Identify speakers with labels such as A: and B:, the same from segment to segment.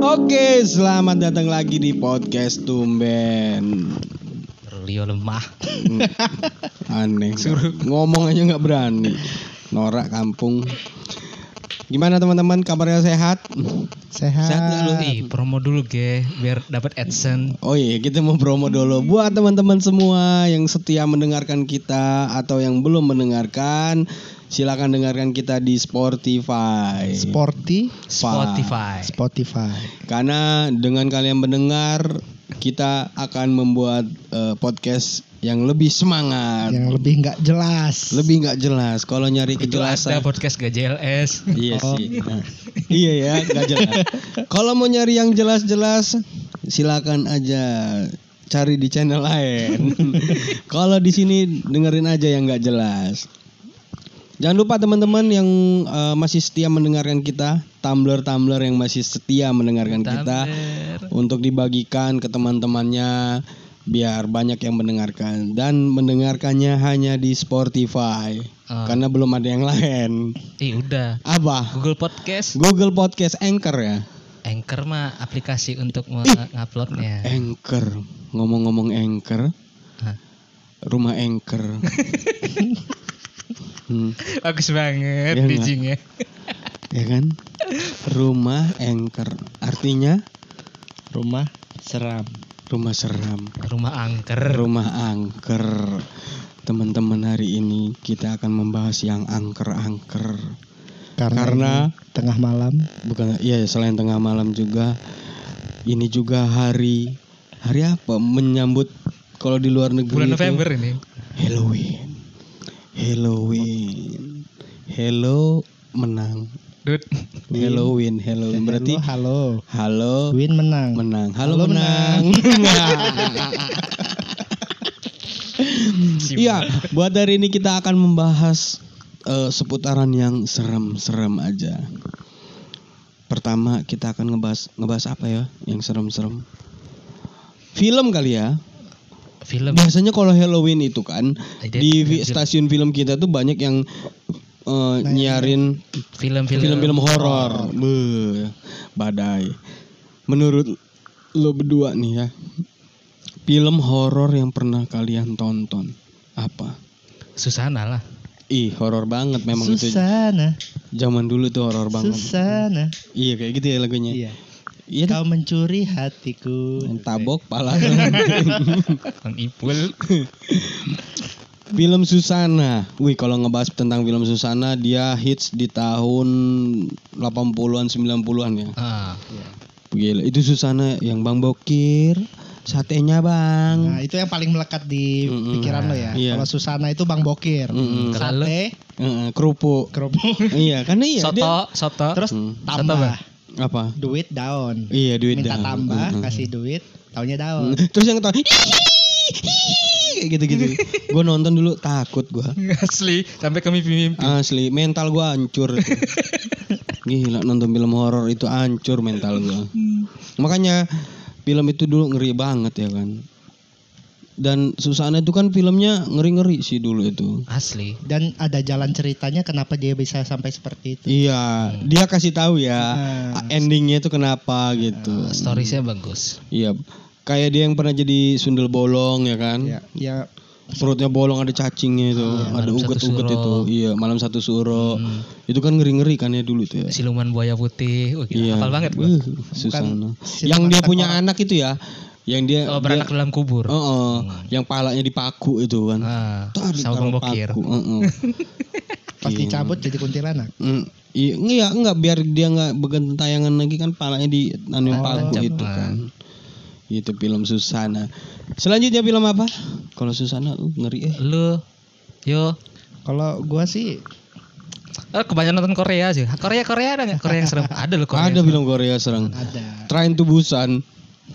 A: Oke, selamat datang lagi di podcast Tumben.
B: Rio lemah.
A: Hmm. Aneh, ngomong aja nggak berani. Norak kampung. Gimana teman-teman? Kabarnya sehat?
C: Sehat.
B: Sehat nggak lu? Ih, promo dulu ge biar dapat adsense.
A: Oh iya, kita mau promo dulu buat teman-teman semua yang setia mendengarkan kita atau yang belum mendengarkan, silakan dengarkan kita di Spotify.
C: Sporty
B: Spotify.
C: Spotify.
A: Karena dengan kalian mendengar, kita akan membuat eh, podcast yang lebih semangat.
C: Yang lebih nggak jelas.
A: lebih nggak jelas kalau nyari
B: Itu ada
A: kejelasan
B: podcast gak JLS.
A: iya
C: Oh.
A: sih Nah, iya ya nggak jelas kalau mau nyari yang jelas-jelas silakan aja cari di channel lain kalau di sini dengerin aja yang nggak jelas Jangan lupa teman-teman yang eh, masih setia mendengarkan kita, tumbler-tumbler yang masih setia mendengarkan kita
B: Tamer.
A: untuk dibagikan ke teman-temannya biar banyak yang mendengarkan dan mendengarkannya hanya di Spotify
B: Ah.
A: karena belum ada yang lain.
B: Ih udah.
A: Apa?
B: Google Podcast,
A: Google Podcast Anchor ya.
B: Anchor mah aplikasi untuk
A: Eh.
B: menguploadnya.
A: Anchor. Ngomong-ngomong Anchor,
B: Hah.
A: rumah Anchor. Hmm,
B: Bagus banget
A: Iya nggak?
B: bridgingnya.
A: ya kan? Rumah Anchor. Artinya
C: Rumah seram.
A: rumah seram.
B: Rumah angker.
A: Rumah angker. Teman-teman hari ini kita akan membahas yang angker-angker.
C: Karena,
A: Karena-
C: ini tengah malam.
A: Bukan iya selain tengah malam juga ini juga hari hari apa menyambut kalau di luar negeri
B: Bulan
A: itu
B: November ini.
A: Halloween. Halloween. Hello menang.
B: Dut.
A: Halloween, Halloween berarti
C: halo.
A: halo
C: Win menang.
A: menang. Halo,
C: Halo
A: menang. Iya, buat hari ini kita akan membahas eh, seputaran yang serem-serem aja. Pertama kita akan ngebahas ngebahas apa ya yang serem-serem? Film kali ya.
B: Film.
A: Biasanya kalau Halloween itu kan
B: Ada
A: di
B: film-
A: vi- stasiun film kita tuh banyak yang eh, nyiarin
B: Film-film.
A: film-film horor. Beuh, Badai. Menurut lo berdua nih ya, film horor yang pernah kalian tonton apa?
B: Susana lah.
A: Ih, horor banget memang itu.
C: Susana,
A: Zaman dulu tuh horor banget.
C: Susana.
A: Iya, kayak gitu ya lagunya.
C: Iya.
A: Iya. deh.
C: Kau mencuri hatiku.
A: Tabok pala.
B: Bang Ipul.
A: film Susana. Wih, kalau ngebahas tentang film Susana, dia hits di tahun 80-an 90-an ya.
B: Ah.
C: Iya.
A: Gila, itu Susana yang Bang Bokir. Satenya, Bang.
C: Nah, itu yang paling melekat di
A: Mm-mm.
C: pikiran lo ya.
A: Iya.
C: Kalau Susana itu Bang Bokir.
A: Mm-mm.
C: Sate,
A: Heeh, kerupuk.
C: kerupuk,
A: iya, karena iya
B: soto,
A: dia
B: soto.
C: Ya, terus
A: Mm.
B: Apa?
C: tambah
A: apa?
C: duit daun.
A: Iya, duit Hmm.
C: Minta
A: dah.
C: tambah,
A: Heeh.
C: kasih duit, taunya
A: Mm,
C: daun.
A: Terus yang ketawa kayak gitu-gitu. gue nonton dulu takut gua.
B: Asli, sampai ke mimpi-mimpi.
A: Asli, mental gua hancur. itu. Gila nonton film horor itu hancur mental gua.
C: Hmm.
A: Makanya film itu dulu ngeri banget ya kan. Dan Susana itu kan filmnya ngeri-ngeri sih dulu itu.
B: Asli.
C: Dan ada jalan ceritanya kenapa dia bisa sampai seperti itu.
A: Iya, dia kasih tahu ya
C: Hmm.
A: endingnya itu kenapa
C: Nah.
A: gitu.
B: Storiesnya bagus.
A: Iya, kayak dia yang pernah jadi sundel bolong ya kan.
C: Ya, ya
A: Perutnya bolong ada cacingnya itu, ada
B: Iya. Malam Satu
A: uget-uget
B: Suro.
A: itu. Iya, malam satu suro.
B: Hmm.
A: Itu kan ngeri-ngeri kan ya dulu
C: Iya.
A: tuh ya.
B: Siluman buaya putih. Wah, gila,
A: Iya.
B: hafal banget gua.
A: Uh, Susana.
C: siluman
A: Yang dia punya
C: tengkorak.
A: anak itu ya, yang dia
B: Oh, beranak dalam kubur.
A: dia- Heeh, yang palanya dipaku itu kan.
B: Ah,
A: Tarik
B: sama
A: taruh
B: Bang Bokir.
A: paku, heeh.
C: pas dicabut jadi kuntilanak.
A: Mm, iya, enggak, enggak biar dia enggak begentayangan lagi kan palanya di anu paku
B: tancap.
A: gitu
B: Ah.
A: kan. Itu film Susana. Selanjutnya film apa? Kalau Susana uh, ngeri eh.
B: Lu yo
C: Kalau gua sih
B: Eh, kebanyakan nonton Korea sih. Korea Korea ada nggak? Korea yang serem. Ada loh Korea.
A: Ada film Korea serang.
C: ada.
A: Train to Busan,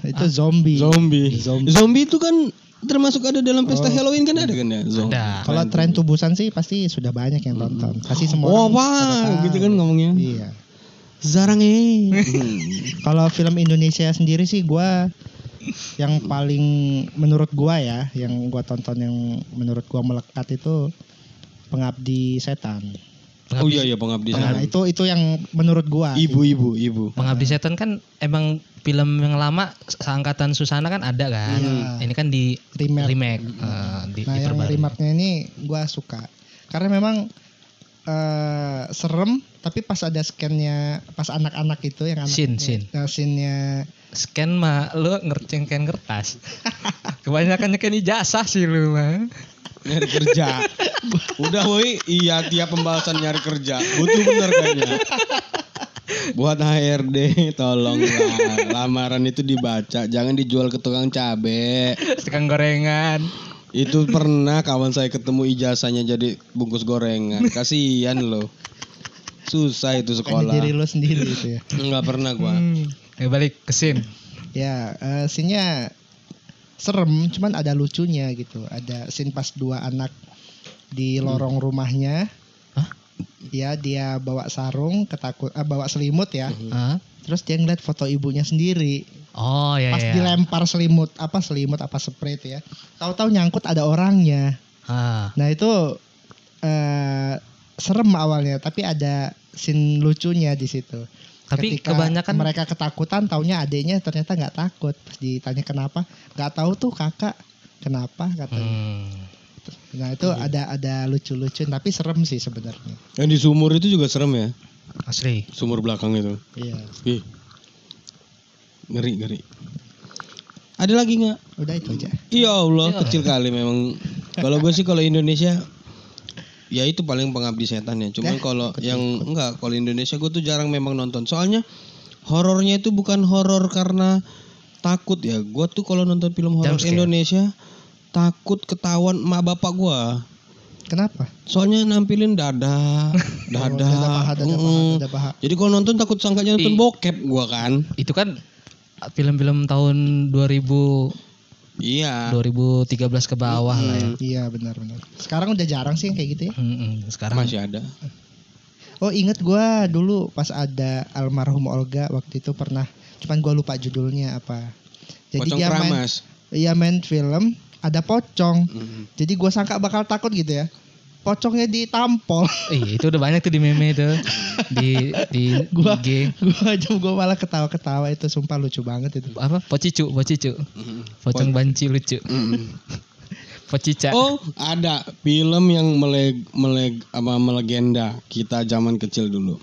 C: Itu zombie.
A: zombie.
C: Iya. Zombie.
A: zombie. itu kan termasuk ada dalam pesta Halloween kan ada kan ya? Zombie.
B: Ada.
C: Kalau tren tubusan sih pasti sudah banyak yang tonton. Pasti semua
A: Wah,
C: orang
A: wah,
C: sudah tahu.
A: Oh, gitu kan ngomongnya.
C: Iya.
A: Zarang eh.
C: Kalau film Indonesia sendiri sih gua yang paling menurut gua ya, yang gua tonton yang menurut gua melekat itu Pengabdi Setan.
A: Oh iya iya pengabdi
C: Nah,
A: setan.
C: itu itu yang menurut gua. gitu.
A: Ibu-ibu, ibu.
B: Pengabdi Setan kan emang film yang lama seangkatan Susana kan ada kan.
C: Iya.
B: Ini kan di
C: Remake.
B: remake, eh, di,
C: Nah, yang
B: diperbarui.
C: remake-nya ini gua suka. Karena memang eh serem tapi pas ada scan-nya pas anak-anak itu yang anak
B: Scene, scene.
C: Nah, scene-nya
B: Scan mah lu ngerceng scan kertas. Kebanyakan nyekin ijazah sih lu mah.
A: Nyari kerja. Udah woi, iya tiap pembahasan nyari kerja. Butuh bener kayaknya. Buat HRD tolonglah lamaran itu dibaca, jangan dijual ke tukang cabe.
B: Tukang gorengan.
A: Itu pernah kawan saya ketemu ijazahnya jadi bungkus gorengan. Kasihan loh. Susah itu
C: bukan di diri
A: sekolah.
C: lu sendiri itu ya.
A: Enggak pernah gua.
C: Hmm.
B: Ya balik ke scene.
C: Ya, eh, scene-nya serem cuman ada lucunya gitu. Ada scene pas dua anak di lorong rumahnya.
B: Hah?
C: Ya, dia bawa sarung, ketakut eh, bawa selimut ya.
B: Hah?
C: Terus dia ngeliat foto ibunya sendiri.
B: Oh iya
C: Pas
B: iya.
C: dilempar selimut apa selimut apa spray itu ya. Tahu-tahu nyangkut ada orangnya.
B: Ah.
C: Nah, itu eh serem awalnya, tapi ada scene lucunya di situ.
B: Tapi
C: Ketika
B: kebanyakan
C: mereka ketakutan taunya adiknya ternyata nggak takut pas ditanya kenapa nggak tahu tuh kakak kenapa katanya
B: Hmm.
C: nah itu ada ada lucu-lucu tapi serem sih sebenarnya
A: Yang di sumur itu juga serem ya.
B: Asli.
A: Sumur belakang itu.
C: iya
A: Ih. Ngeri, ngeri. Ada lagi nggak?
C: udah itu aja
A: Ya
C: Iya.
A: Allah, kecil kali memang. Kalau gue sih kalau Indonesia ya itu paling pengabdi setan ya. Cuman
C: Ya,
A: kalau yang enggak, kalau Indonesia gue tuh jarang memang nonton. Soalnya horornya itu bukan horor karena takut ya. Gue tuh kalau nonton film horor
B: Jump scare.
A: Indonesia takut ketahuan emak bapak gua.
C: kenapa
A: Soalnya nampilin dada,
C: Oh,
A: dada.
B: Ah,
C: dada paha dada paha
A: mm.
C: dada paha
A: Jadi kalau nonton takut sangkanya nonton
B: Ih.
A: bokep gua kan.
B: Itu kan film-film tahun 2000
C: Nah.
A: Iya.
B: 2013 ke bawah lah ya.
C: iya benar-benar sekarang udah jarang sih yang kayak gitu ya
B: Mm-mm. hmm. Sekarang
A: Masih ada.
C: oh inget gua dulu pas ada almarhum Olga waktu itu pernah cuman gua lupa judulnya apa jadi
A: Pocong
C: dia main
A: keramas.
C: iya main film ada pocong
A: Mm.
C: Jadi gua sangka bakal takut gitu ya. Pocongnya ditampol.
B: Iya itu udah banyak tuh di meme itu di di
C: Gua-
B: IG
C: gua aja gua malah ketawa-ketawa itu sumpah lucu banget itu.
B: apa pocicu pocicu
A: Mm.
B: Mm-hmm. pocong Mm-hmm. banci lucu
A: Mm.
B: pocica
A: Oh, ada film yang meleg meleg apa melegenda kita zaman kecil dulu.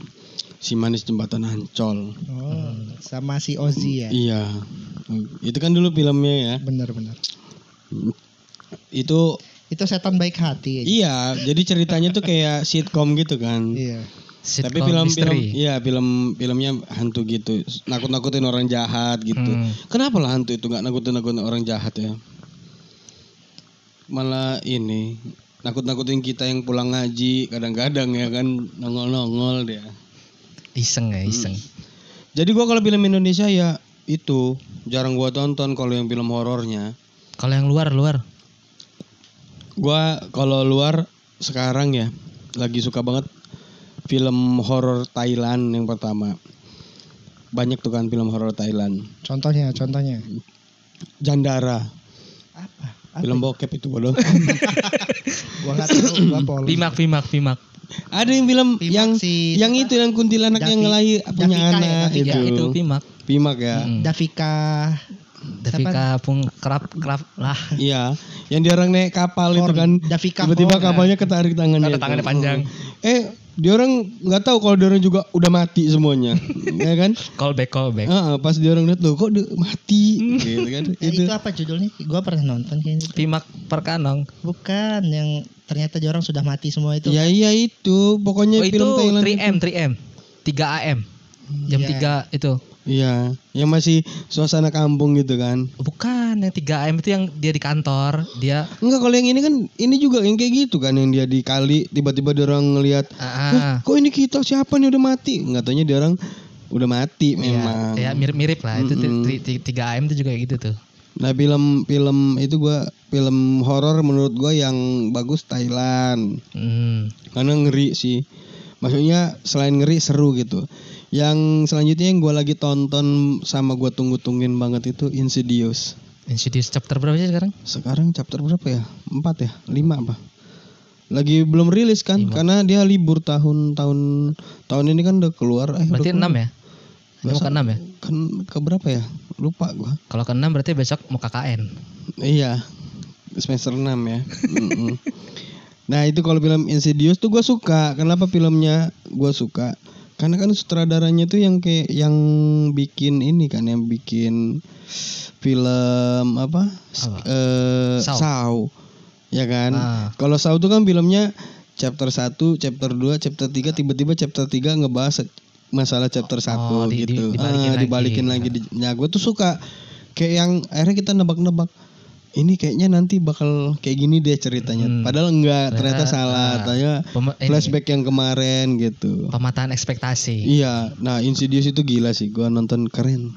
A: Si manis jembatan Ancol.
C: Oh, sama si Ozzy ya.
A: Hmm. Iya. Itu kan dulu filmnya ya.
C: Bener-bener.
A: Itu
C: Itu setan baik hati. aja.
A: iya, jadi ceritanya tuh kayak sitcom gitu kan.
C: Iya.
B: sitcom
A: Tapi film film
B: misteri.
A: iya, film filmnya hantu gitu. Nakut-nakutin orang jahat gitu.
B: Hmm.
A: Kenapa lah hantu itu nggak nakut-nakutin orang jahat ya? Malah ini nakut-nakutin kita yang pulang ngaji kadang-kadang ya kan nongol-nongol dia.
B: iseng ya iseng
A: Jadi gua kalau film Indonesia ya itu jarang gua tonton kalau yang film horornya.
B: kalau yang luar luar
A: Gua kalau luar sekarang ya lagi suka banget film horor Thailand yang pertama. Banyak tuh kan film horor Thailand.
C: Contohnya, contohnya.
A: Jandara,
C: Apa? Apa?
A: film bokep itu bodoh.
C: Gua nggak tahu. Gua pol.
B: pimak pimak pimak
A: Ada yang film
C: Pimak
A: yang
C: si-
A: yang itu yang kuntilanak
C: Davi-
A: yang ngelahir punya
C: Davika ya,
A: anak
C: Davika.
A: itu.
B: ya itu pimak
A: Pimak ya.
C: Hmm.
B: Mm.
C: Davika.
B: tapi kapung kerap kerap lah
A: Iya, yang dia orang naik kapal itu
C: Horn.
A: kan.
C: Davika
A: Tiba-tiba
C: Horn.
A: kapalnya ketarik tangannya.
B: Ada
A: itu.
B: tangannya panjang.
A: Eh, dia orang nggak tahu kalau dia orang juga udah mati semuanya. ya kan?
B: call back call back
A: Heeh, eh, pas dia orang lihat loh kok dia mati
B: Hmm.
A: gitu kan.
C: Ya,
A: itu.
C: itu apa judulnya? Gua pernah nonton
A: Mm.
C: kayaknya.
B: pimak perkanong
C: Bukan yang ternyata dia orang sudah mati semua itu.
A: Ya iya itu, pokoknya
B: oh, itu
A: film Thailand.
B: 3M 3M 3AM jam
C: Iya.
B: 3 itu
A: Iya, yang masih suasana kampung gitu kan.
B: bukan yang 3AM itu yang dia di kantor dia
A: Enggak kalau yang ini kan ini juga yang kayak gitu kan yang dia di kali tiba-tiba dia orang ngelihat
B: ah, ah.
A: kok ini kita siapa nih udah mati nggak taunya dia orang udah mati memang
B: ya mirip-mirip lah itu
A: Mm-mm.
B: tri- tri- tiga AM itu juga kayak gitu tuh
A: nah film film itu gua film horor menurut gua yang bagus Thailand
B: hmm.
A: karena ngeri sih maksudnya selain ngeri seru gitu yang selanjutnya yang gua lagi tonton sama gua tunggu-tungguin banget itu Insidious Eh,
B: Insidious chapter berapa sih sekarang
A: sekarang chapter berapa ya empat ya lima apa lagi belum rilis kan karena dia libur tahun-tahun tahun ini kan udah keluar eh
B: Berarti
A: udah keluar.
B: 6 ya? Ini Mau
A: Besok-
B: ke 6 ya?
A: kan ke berapa ya lupa gua
B: Kalau ke 6 berarti besok mau KKN.
A: Iya. Semester 6 ya. Mm-mm. nah, itu kalau film Insidious tuh gua suka. Kenapa filmnya gua suka? Karena kan sutradaranya tuh yang kayak yang bikin ini kan yang bikin film apa? S-
B: Apa?
A: Eh
B: Saw.
A: Saw. Ya kan?
B: Ah.
A: Kalau Saw tuh kan filmnya chapter 1, chapter 2, chapter 3 tiba-tiba chapter 3 ngebahas masalah chapter 1
B: Oh, di- di-
A: gitu.
B: dibalikin
A: Ah,
B: lagi.
A: dibalikin lagi. di- Nah, gue tuh suka kayak yang akhirnya kita nebak-nebak ini kayaknya nanti bakal kayak gini deh ceritanya.
B: Hmm.
A: Padahal enggak, ternyata,
B: Ternyata,
A: salah.
B: ah,
A: Ternyata
B: Pema- ini,
A: flashback yang kemarin gitu.
B: Pemataan ekspektasi.
A: Iya, nah Insidious itu gila sih. Gua nonton keren.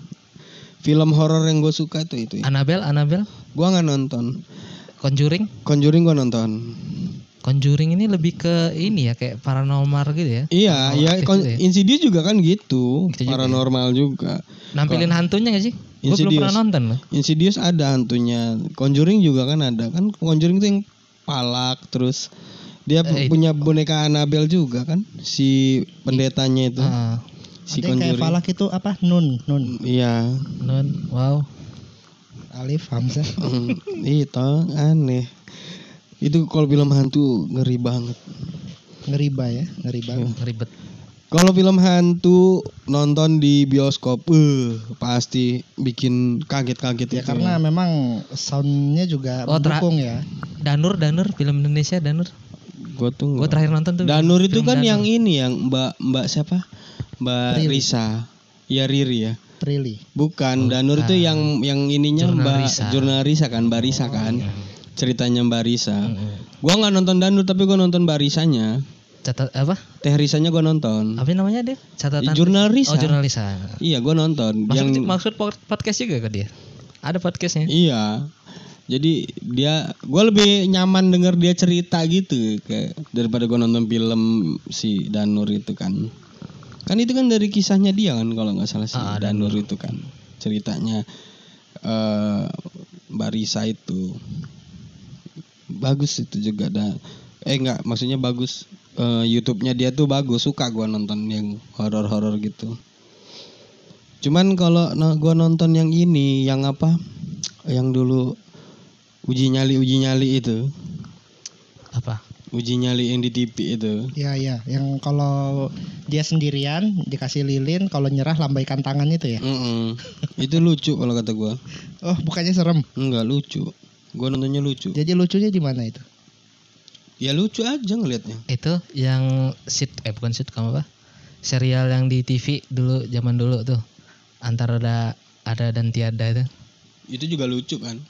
A: Film horor yang gue suka tuh itu. ya.
B: Annabelle, Annabelle,
A: Gua nggak nonton.
B: Conjuring.
A: Conjuring gua nonton.
B: Conjuring ini lebih ke ini ya kayak paranormal gitu ya.
A: Iya,
B: Paranormal
A: iya
B: aktif
A: Con-
B: gitu ya.
A: Insidious juga kan gitu,
B: Gitu juga ya.
A: paranormal juga.
B: Nampilin hantunya gak sih? Gue belum
A: Insidious.
B: pernah nonton loh.
A: Insidious ada hantunya. Conjuring juga kan ada. Kan Conjuring itu yang palak terus dia
B: Eh, itu-
A: punya boneka Annabelle juga kan si pendetanya itu
B: Ah,
A: si
C: Ada yang kayak
A: Conjuring.
C: falak itu apa? Nun, nun.
A: Iya.
B: Nun, wow.
C: Alif Hamzah.
A: Mm, itu aneh. Itu kalau film hantu ngeri banget.
C: Ngeriba ya, ngeriba.
A: Hmm.
B: Ribet.
A: Kalau film hantu nonton di bioskop, eh pasti bikin kaget-kaget
C: Ya
A: itu
C: karena memang soundnya juga
B: Oh, tera-
C: mendukung ya.
B: Danur, Danur, film Indonesia Danur.
A: gue tuh
B: Gue terakhir nonton tuh.
A: Danur itu
B: film
A: kan
B: Danur.
A: yang ini yang Mbak Mbak siapa? Mbak
C: Riri.
A: Risa. Ya Riri ya.
C: Prilly.
A: Bukan, Danur itu yang yang ininya
B: Jurnal
A: Mbak
B: Risa. Oh, iya.
A: Jurnal Risa kan, Mbak Risa kan. Ceritanya Mbak Risa.
B: Mm-mm.
A: Gua nggak nonton Danur tapi gua nonton Mbak Risanya.
B: Catat apa?
A: Teh Risanya gua nonton.
B: Apa namanya dia? Catatan.
A: Jurnal Risa.
B: Oh, jurnalisa.
A: Iya, gua nonton.
B: Maksud,
A: yang
B: maksud pod- podcast juga ke dia? Ada podcastnya.
A: Iya. Jadi dia gua lebih nyaman denger dia cerita gitu kayak daripada gua nonton film si Danur itu kan. Kan itu kan dari kisahnya dia kan kalau nggak salah si
B: Ah,
A: Danur itu kan. Ceritanya eh Mbak Risa itu. Bagus itu juga ada eh enggak maksudnya bagus Eh, YouTube-nya dia tuh bagus suka gua nonton yang horor-horor gitu. Cuman kalau no, gua nonton yang ini, yang apa? Yang dulu uji nyali uji nyali itu,
B: Apa?
A: uji nyali yang di TV itu.
C: Ya ya, yang kalau dia sendirian dikasih lilin, kalau nyerah lambaikan tangan itu ya.
A: Mm-mm. itu lucu kalau kata gua.
C: Oh, bukannya serem.
A: Enggak lucu. Gua nontonnya lucu.
C: Jadi lucunya di mana itu?
A: Ya lucu aja ngelihatnya.
B: Itu yang sit eh bukan sit kamu apa? Serial yang di TV dulu zaman dulu tuh. Antara ada ada dan tiada itu.
A: Itu juga lucu kan.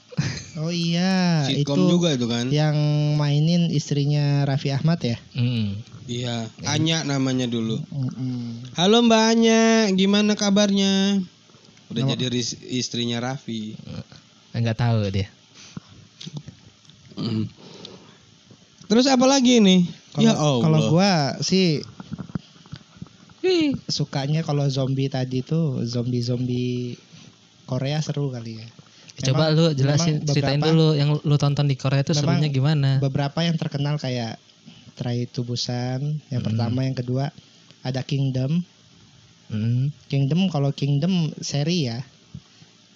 C: Oh iya,
A: Sitkom
C: itu ya.
A: juga itu kan.
C: yang mainin istrinya Raffi Ahmad ya.
B: Mm.
A: Iya. Anya namanya dulu.
C: Mm-mm.
A: Halo Mbak Anya, gimana kabarnya? Udah jadi ris- istrinya Raffi.
B: Enggak tahu dia.
A: Mm. Terus apa lagi Ya nih?
C: Kalau kalau gua sih
B: Wih.
C: sukanya kalau zombie tadi tuh zombie-zombie Korea seru kali ya.
B: Coba
C: Memang-
B: lu jelasin
C: memang
B: ceritain
C: beberapa-
B: dulu yang lu tonton di Korea itu
C: Memang
B: serunya gimana?
C: Beberapa yang terkenal kayak Trai Tubusan, yang
B: Hmm.
C: pertama, yang kedua ada Kingdom.
B: Mm.
C: Kingdom kalau Kingdom seri ya.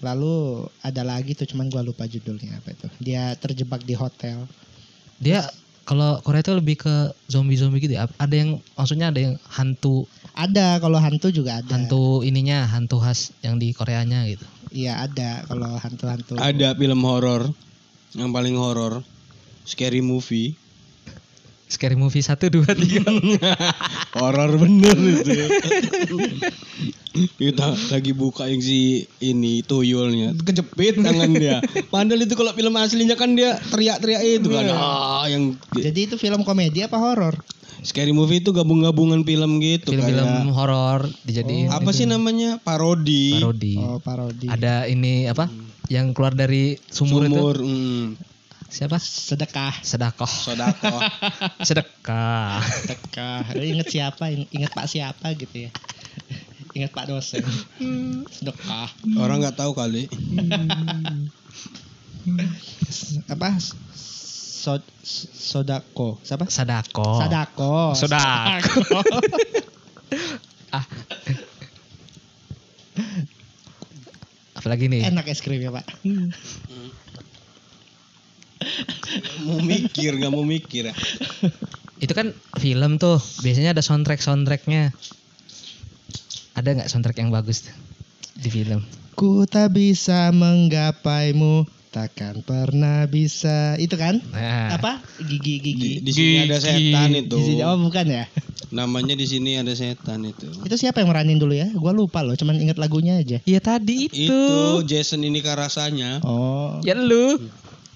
C: Lalu ada lagi tuh cuman gua lupa judulnya apa itu. Dia terjebak di hotel.
B: Dia kalau Korea itu lebih ke zombie-zombie gitu ya. Ada yang maksudnya ada yang hantu
C: Ada kalau hantu juga ada.
B: hantu ininya, hantu khas yang di Koreanya gitu.
C: Iya ada kalau hantu-hantu.
A: Ada film horor yang paling horor, scary movie.
B: Scary Movie 1 2 3.
A: Horor bener itu. Kita lagi buka yang si ini tuyulnya kejepit tangan dia. Padahal itu kalau film aslinya kan dia teriak-teriak itu kan. Ah, yang
C: Jadi itu film komedi apa horor?
A: scary movie itu gabung-gabungan film gitu
B: Film-film
A: kayak Oh,
B: horor dijadiin
A: apa sih namanya parodi.
B: parodi.
C: Oh parodi.
B: Iya. Ada ini apa? Yang keluar dari sumur, itu
A: Sumur, mm,
B: siapa?
C: Sedekah.
B: Sedakoh.
A: sodako.
B: Sedekah.
C: Sedekah. Lu inget siapa? Inget Pak siapa gitu ya? Ingat Pak dosen. Sedekah.
A: Orang nggak tahu kali.
C: Apa? Sod- Sodako. Siapa?
B: Sadako.
C: Sadako.
D: Sodak.
B: Ah. Apalagi nih.
C: Enak es krim ya, Pak.
A: mau mikir nggak mau mikir ya.
B: Itu kan film tuh. Biasanya ada soundtrack soundtracknya. Ada nggak soundtrack yang bagus tuh di film?
C: Ku tak bisa menggapaimu, takkan pernah bisa. Itu kan?
B: Nah,
C: Apa?
A: di,
C: Gigi-gigi.
A: di sini ada setan itu
C: Oh, bukan ya?
A: namanya di sini ada setan itu
C: Itu siapa yang meranin dulu ya? Gua lupa loh, cuman inget lagunya aja.
B: Iya tadi itu.
A: itu Jason ini rasanya
C: Oh,
B: Ya lu.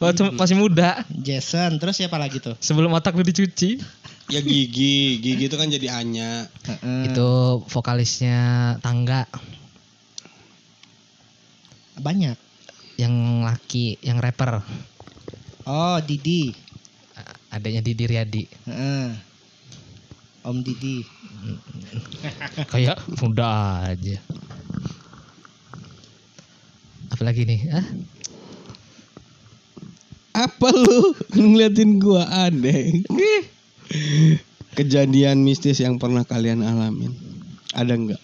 B: Waktu
A: Hmm.
B: masih muda.
C: Jason. Terus siapa lagi tuh?
B: Sebelum otak lu dicuci.
A: ya gigi gigi itu kan jadi Anya
C: Heeh.
B: Itu vokalisnya Tangga
C: Banyak.
B: yang laki, yang rapper.
C: Oh, Didi.
B: Adanya Didi Riyadi.
C: Heeh. Om Didi.
B: Kayak muda aja. Apalagi nih? ah? Hah?
A: apa lu ngeliatin gua aneh kejadian mistis yang pernah kalian alamin ada nggak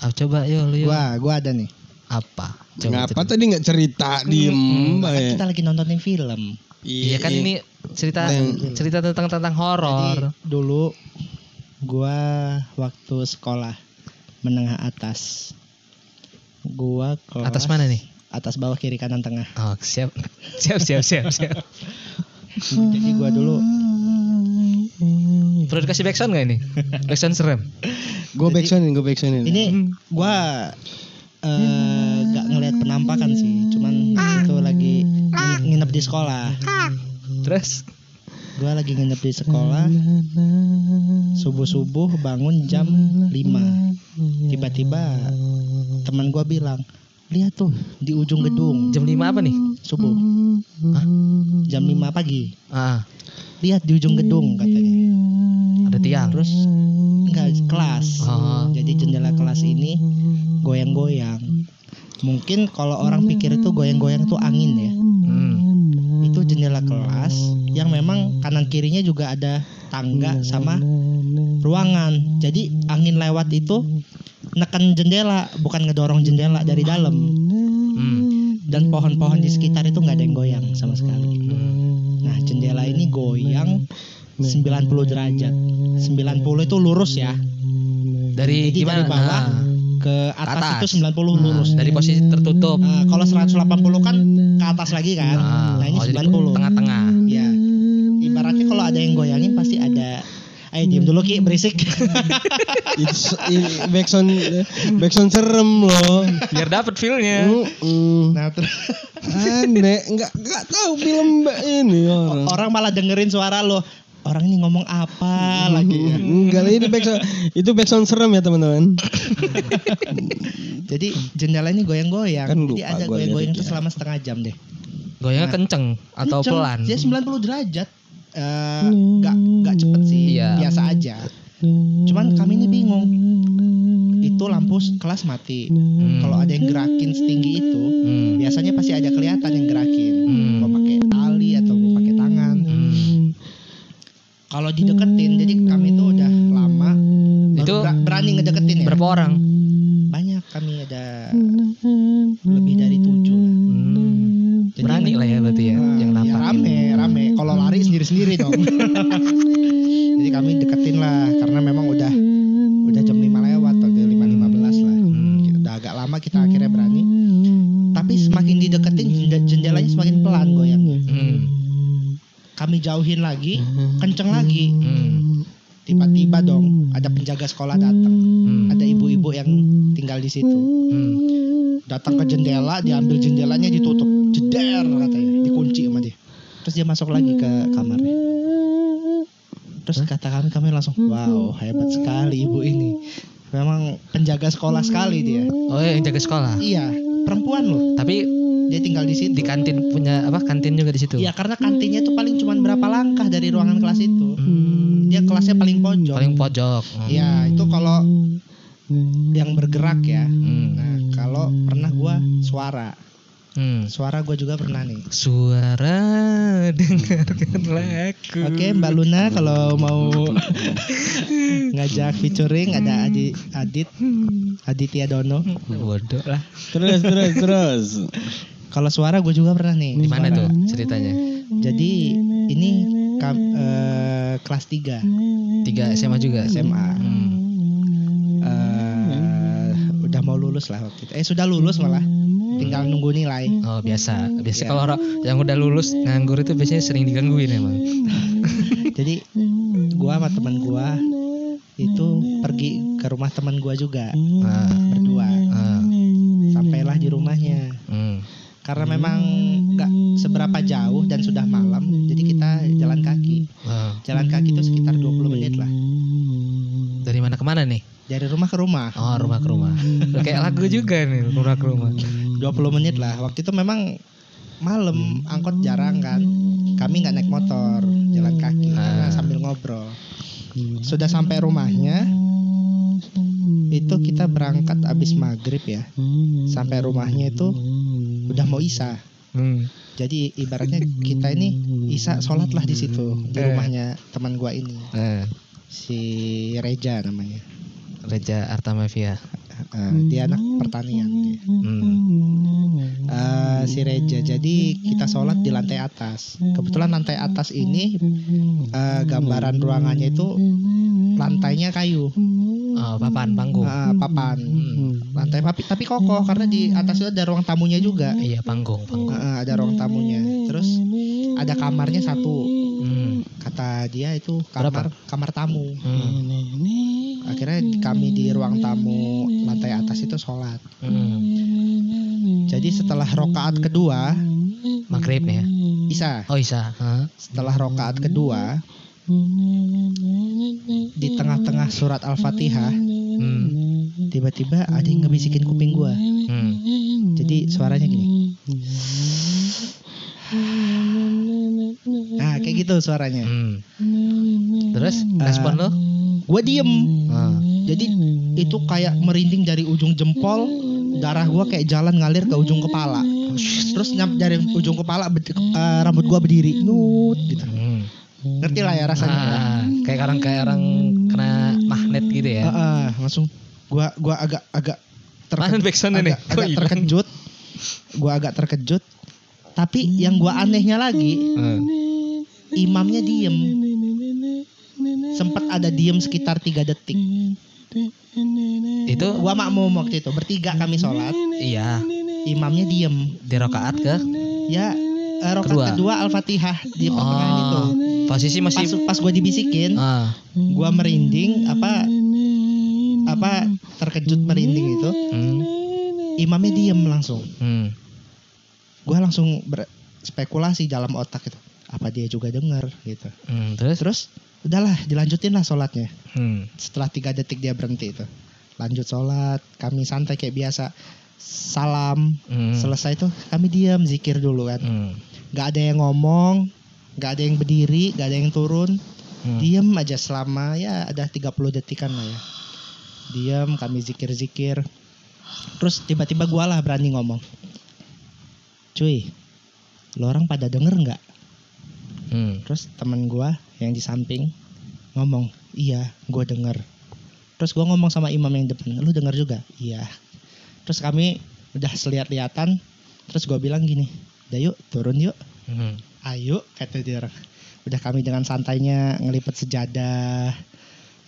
B: Ah, coba yo lu yo.
C: Gua, gua ada nih.
B: Apa? Coba Hmm,
A: ngapa
B: cerita.
A: tadi nggak cerita diem ya?
C: Kan
A: bae.
C: kita lagi nontonin film.
B: Iya kan ini cerita
A: Yang-
B: cerita tentang tentang
C: Jadi
B: horor.
C: dulu gua waktu sekolah menengah atas. Gua kelas
B: Atas mana nih?
C: Atas bawah kiri kanan tengah.
B: Oh, siap. Siap siap siap siap.
C: Jadi gua dulu
B: Perlu dikasih backsound gak ini? Backsound serem.
A: gue backsoundin gue backsoundin
C: ini gua eh, nggak ngelihat penampakan sih, cuman itu lagi nginep di sekolah.
B: Terus
C: Gua lagi nginep di sekolah. Subuh-subuh bangun jam 5. Tiba-tiba teman gua bilang, "Lihat tuh di ujung gedung
B: jam 5 apa nih?
C: subuh."
B: Hah?
C: Jam 5 pagi.
B: Ah,
C: Lihat di ujung gedung katanya.
B: ada tiang.
C: Terus enggak kelas.
B: Ah.
C: Jadi jendela kelas ini goyang-goyang. Mungkin kalau orang pikir itu goyang-goyang itu angin ya.
B: Hmm.
C: Itu jendela kelas yang memang kanan kirinya juga ada tangga sama ruangan. Jadi angin lewat itu neken jendela bukan ngedorong jendela dari dalam
B: Hmm.
C: dan pohon-pohon di sekitar itu nggak ada yang goyang sama sekali. Nah, jendela ini goyang 90 derajat. 90 itu lurus ya.
B: Dari
C: Jadi
B: gimana?
C: dari bawah
B: Ah.
C: ke atas,
B: Atas. Ah, Nah,
C: itu 90 lurus.
B: dari posisi tertutup.
C: Nah, kalau 180 kan ke atas lagi kan.
B: Ah,
C: Nah, ini
B: oh, jadi
C: 90.
B: Tengah-tengah.
C: Ya. Ibaratnya kalau ada yang goyangin pasti ada Ayo diem dulu Ki, berisik.
A: It's, i- backsound backsound serem loh
B: Biar dapet feel-nya.
A: Mm-mm.
C: nah, terus
A: aneh nggak nggak tahu film mbak ini orang
C: orang malah dengerin suara lo. Orang ini ngomong apa lagi ya.
A: Enggak ini backsound itu backsound serem ya teman-teman.
C: Jadi jendela ini goyang-goyang.
A: Kan
C: Jadi
A: lupa
C: ada
A: gua liatin
C: goyang-goyang itu
A: ya.
C: selama setengah jam deh.
B: Goyangnya
C: Nah.
B: kenceng atau
C: Kenceng.
B: pelan.
C: Dia 90 derajat. Eh,
A: Hmm.
C: nggak nggak cepet sih,
B: Iya.
C: biasa aja. Cuman kami ini bingung. Itu lampu s- kelas mati.
B: Hmm.
C: Kalau ada yang gerakin setinggi itu,
B: Hmm.
C: biasanya pasti ada kelihatan yang gerakin.
B: Hmm.
C: Mau pakai tali atau mau pakai tangan.
B: Hmm.
C: Kalau dideketin, jadi kami itu udah lama baru
B: Itu
C: ber- berani ngedeketin ya.
B: Berapa orang? Hmm.
C: Banyak kami ada lebih dari tujuh lah. Jadi
B: Berani lah ya berarti ya
C: Ah,
B: yang
C: ya,
B: nampak.
C: rame rame kalau lari sendiri sendiri dong jadi kami deketin lah karena memang udah udah jam 5 lewat atau lima lima belas lah
B: Hmm.
C: Kita- udah agak lama kita akhirnya berani tapi semakin dideketin jenda- jendelanya semakin pelan goyangnya
B: Hmm.
C: kami jauhin lagi kenceng lagi
B: Hmm.
C: tiba-tiba dong ada penjaga sekolah datang
B: Hmm.
C: ada ibu-ibu yang tinggal di situ
B: Hmm.
C: datang ke jendela diambil jendelanya ditutup jeder katanya dikunci sama dia terus dia masuk lagi ke kamarnya terus kata kami kami langsung wow hebat sekali ibu ini memang penjaga sekolah sekali dia
B: Oh yang jaga sekolah.
C: iya perempuan loh
B: Tapi
C: dia tinggal di situ
B: di kantin punya apa kantin juga di situ.
C: iya karena kantinnya itu paling cuman berapa langkah dari ruangan kelas itu dia kelasnya paling pojok
B: Hmm. Paling pojok. Hmm.
C: iya itu kalau yang bergerak ya
B: Hmm.
C: nah kalau pernah gua suara
B: Hmm.
C: Suara gue juga pernah nih.
B: Suara dengarkanlah aku.
C: Oke Mbak Luna kalau mau ngajak featuring ada Adi, Adit Aditya Dono.
B: Bodoh lah.
A: Terus terus terus.
C: Kalau suara gue juga pernah nih.
B: Di mana tuh ceritanya?
C: Jadi ini kam- eh, kelas 3
B: Tiga SMA juga.
C: SMA.
B: Hmm.
C: Eh, udah mau lulus lah waktu itu. Eh sudah lulus malah. Tinggal nunggu nilai.
B: Oh biasa. Biasa
C: Iya.
B: kalau orang yang udah lulus nganggur itu biasanya sering digangguin emang.
C: Jadi gua sama teman gua itu pergi ke rumah teman gua juga
B: Ah,
C: berdua. Eh,
B: ah,
C: Sampailah di rumahnya.
B: hmm.
C: Karena memang nggak seberapa jauh dan sudah malam, jadi kita jalan kaki.
B: Ah.
C: Jalan kaki itu sekitar 20 menit lah.
B: Dari mana ke mana nih?
C: Dari rumah ke rumah.
B: Oh rumah ke rumah. Loh, Kayak lagu juga nih rumah ke rumah.
C: 20 menit lah. Waktu itu memang malam angkot jarang kan. Kami nggak naik motor, jalan kaki karena
B: Ah.
C: sambil ngobrol. Sudah sampai rumahnya, itu kita berangkat abis maghrib ya. Sampai rumahnya itu udah mau isa.
B: Hmm.
C: Jadi ibaratnya kita ini isa sholat lah di situ di
B: Eh.
C: rumahnya teman gua ini
B: Eh,
C: si Reja namanya.
B: Reja Artamevia.
C: Eh, dia anak pertanian. dia.
B: Hmm.
C: Eh, si Reja. Jadi kita sholat di lantai atas. Kebetulan lantai atas ini eh, gambaran ruangannya itu lantainya kayu,
B: Oh, papan panggung.
C: Eh, papan.
B: Hmm.
C: Lantai papi, tapi kokoh karena di atas itu ada ruang tamunya juga.
B: Iya panggung panggung.
C: Eh, ada ruang tamunya. Terus ada kamarnya satu.
B: Hmm.
C: Kata dia itu kamar kamar tamu.
B: Hmm.
C: Akhirnya kami di ruang tamu lantai atas itu sholat.
B: Hmm.
C: Jadi setelah rokaat kedua,
B: Maghrib nih ya.
C: Isa,
B: Oh Isa. Hah?
C: setelah rokaat kedua, di tengah-tengah surat Al-Fatihah,
B: Hmm.
C: tiba-tiba ada yang ngebisikin kuping gua.
B: Hmm.
C: Jadi suaranya gini. Nah, kayak gitu suaranya.
B: Hmm. Terus respon lo?
C: Gua diem.
B: Ah.
C: Jadi itu kayak merinding dari ujung jempol, darah gua kayak jalan ngalir ke ujung kepala. Terus nyampe dari ujung kepala bed- eh, rambut gua berdiri. Nyut gitu.
B: Hmm.
C: Ngerti lah ya rasanya.
B: Ah, kayak orang kayak orang kena magnet gitu ya.
C: Ah, ah, langsung gua gua agak agak
B: Tahan
C: terkejut,
B: back sound-nya nih.
C: agak,
B: Kok
C: agak
B: hilang?
C: terkejut. Gua agak terkejut. Tapi yang gua anehnya lagi,
B: Hmm.
C: imamnya diem. Sempet ada diem sekitar tiga detik.
B: Itu
C: Gua makmum waktu itu bertiga kami sholat,
B: iya
C: imamnya diem.
B: di rakaat ke
C: Ya eh, rokat
B: Kedua.
C: kedua, al-fatihah di pertengahan itu.
B: oh, posisi
C: Pas
B: masih
C: pas gua dibisikin,
B: ah,
C: gua merinding apa apa terkejut merinding itu.
B: hmm,
C: Imamnya diem langsung.
B: hmm.
C: gue langsung berspekulasi dalam otak itu apa dia juga dengar gitu
B: Hmm, terus
C: terus udahlah dilanjutin lah sholatnya
B: hmm.
C: setelah tiga detik dia berhenti itu lanjut sholat kami santai kayak biasa salam
B: Hmm.
C: selesai tuh kami diam zikir dulu kan
B: Hmm.
C: nggak ada yang ngomong nggak ada yang berdiri nggak ada yang turun
B: Hmm.
C: diam aja selama ya ada 30 detikan lah ya diam kami zikir-zikir terus tiba-tiba gua lah berani ngomong cuy lo orang pada denger nggak
B: Hmm.
C: terus teman gua yang di samping ngomong iya gua denger terus gua ngomong sama imam yang depan lu denger juga iya terus kami udah seliat-liatan terus gua bilang gini dah yuk turun yuk
B: Hmm.
C: ayo kata dia orang. udah kami dengan santainya ngelipet sejadah